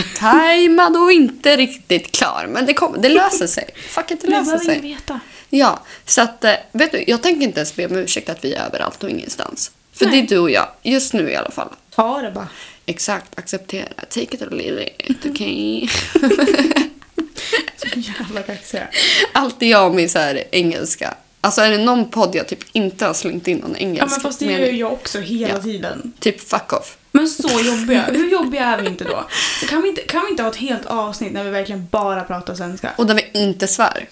Tajmad och inte riktigt klar. Men det, kommer, det löser sig. Fuck it, det
Vi
löser
behöver
sig.
ingen veta.
Ja, så att, eh, vet du, jag tänker inte ens be om ursäkt att vi är överallt och ingenstans. För
Nej.
det är du och jag, just nu i alla fall.
Ta det bara.
Exakt, acceptera. Take it or leave it, okej?
Så jävla kaxiga.
Alltid jag och min så här engelska. Alltså är det någon podd jag typ inte har slängt in någon engelsk
Ja men fast det gör ju
mening?
jag också hela
Ja.
tiden.
Typ fuck off.
Men så jobbiga. Hur jobbiga är vi inte då? Så kan, vi inte, kan vi inte ha ett helt avsnitt när vi verkligen bara pratar svenska?
Och där vi inte svär.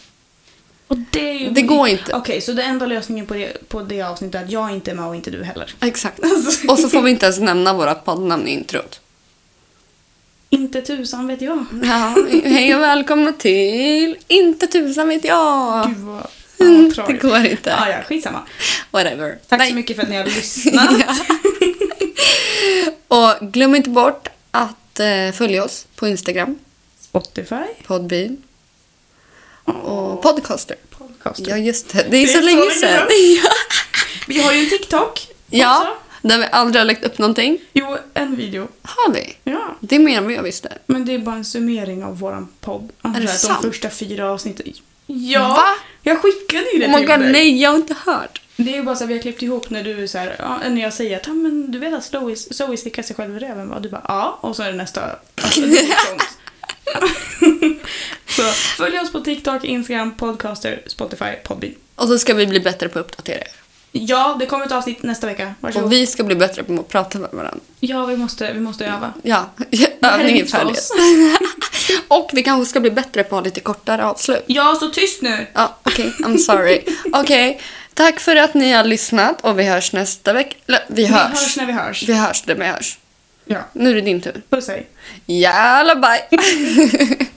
Och det, är ju-
Det går inte.
Okej, så den enda lösningen på det, på det avsnittet är att jag inte är med och inte du heller.
Exakt.
Alltså-
Och så får vi inte ens nämna vårat poddnamn i introt.
Inte tusan vet jag.
Ja, hej och välkomna till Inte tusan vet jag.
Gud vad fan, vad
Det
tragiskt.
går inte.
Ja, ja, skitsamma.
Whatever.
Tack
Nej.
så mycket för att ni har lyssnat.
Och glöm inte bort att eh, följa oss på Instagram,
Spotify.
Podbean och Podcaster.
Podcaster.
Ja, just det. Det är, så, länge sedan.
Vi har ju en TikTok
ja,
också.
där vi aldrig har lagt upp någonting.
Jo, en video.
Har vi?
Ja.
Det är mer än vad jag visste.
Men det är bara en summering av våran podd. Alltså
det
att
sant?
De första fyra avsnitten. Ja!
Va?
Jag skickade ju det
Oh my
till
god,
dig.
nej, jag har inte hört.
Det är ju bara så att vi har klippt ihop när du är så här, ja, när jag säger att "Ja, men du vet att Zoe, Zoe slickar sig själv i röven va? Och du bara ja, och så är det nästa. Alltså, det är sånt. så följ oss på TikTok, Instagram, Podcaster, Spotify, Podbean.
Och så ska vi bli bättre på att uppdatera er.
Ja, det kommer ett avsnitt nästa vecka. Varsågod.
Och vi ska bli bättre på att prata med varandra.
Ja, vi måste, vi måste öva.
Ja,
här är
övningen
nytt för
följer.
oss.
och vi kanske ska bli bättre på att ha lite kortare avslut.
Ja, så tyst nu!
Ja, okej. I'm sorry. Okej. Tack för att ni har lyssnat och vi hörs nästa vecka. Eller, vi
Vi
hörs.
hörs när vi hörs.
Vi hörs där vi hörs.
Ja,
Nu är det din tur.
puss hej.
Jalla bye!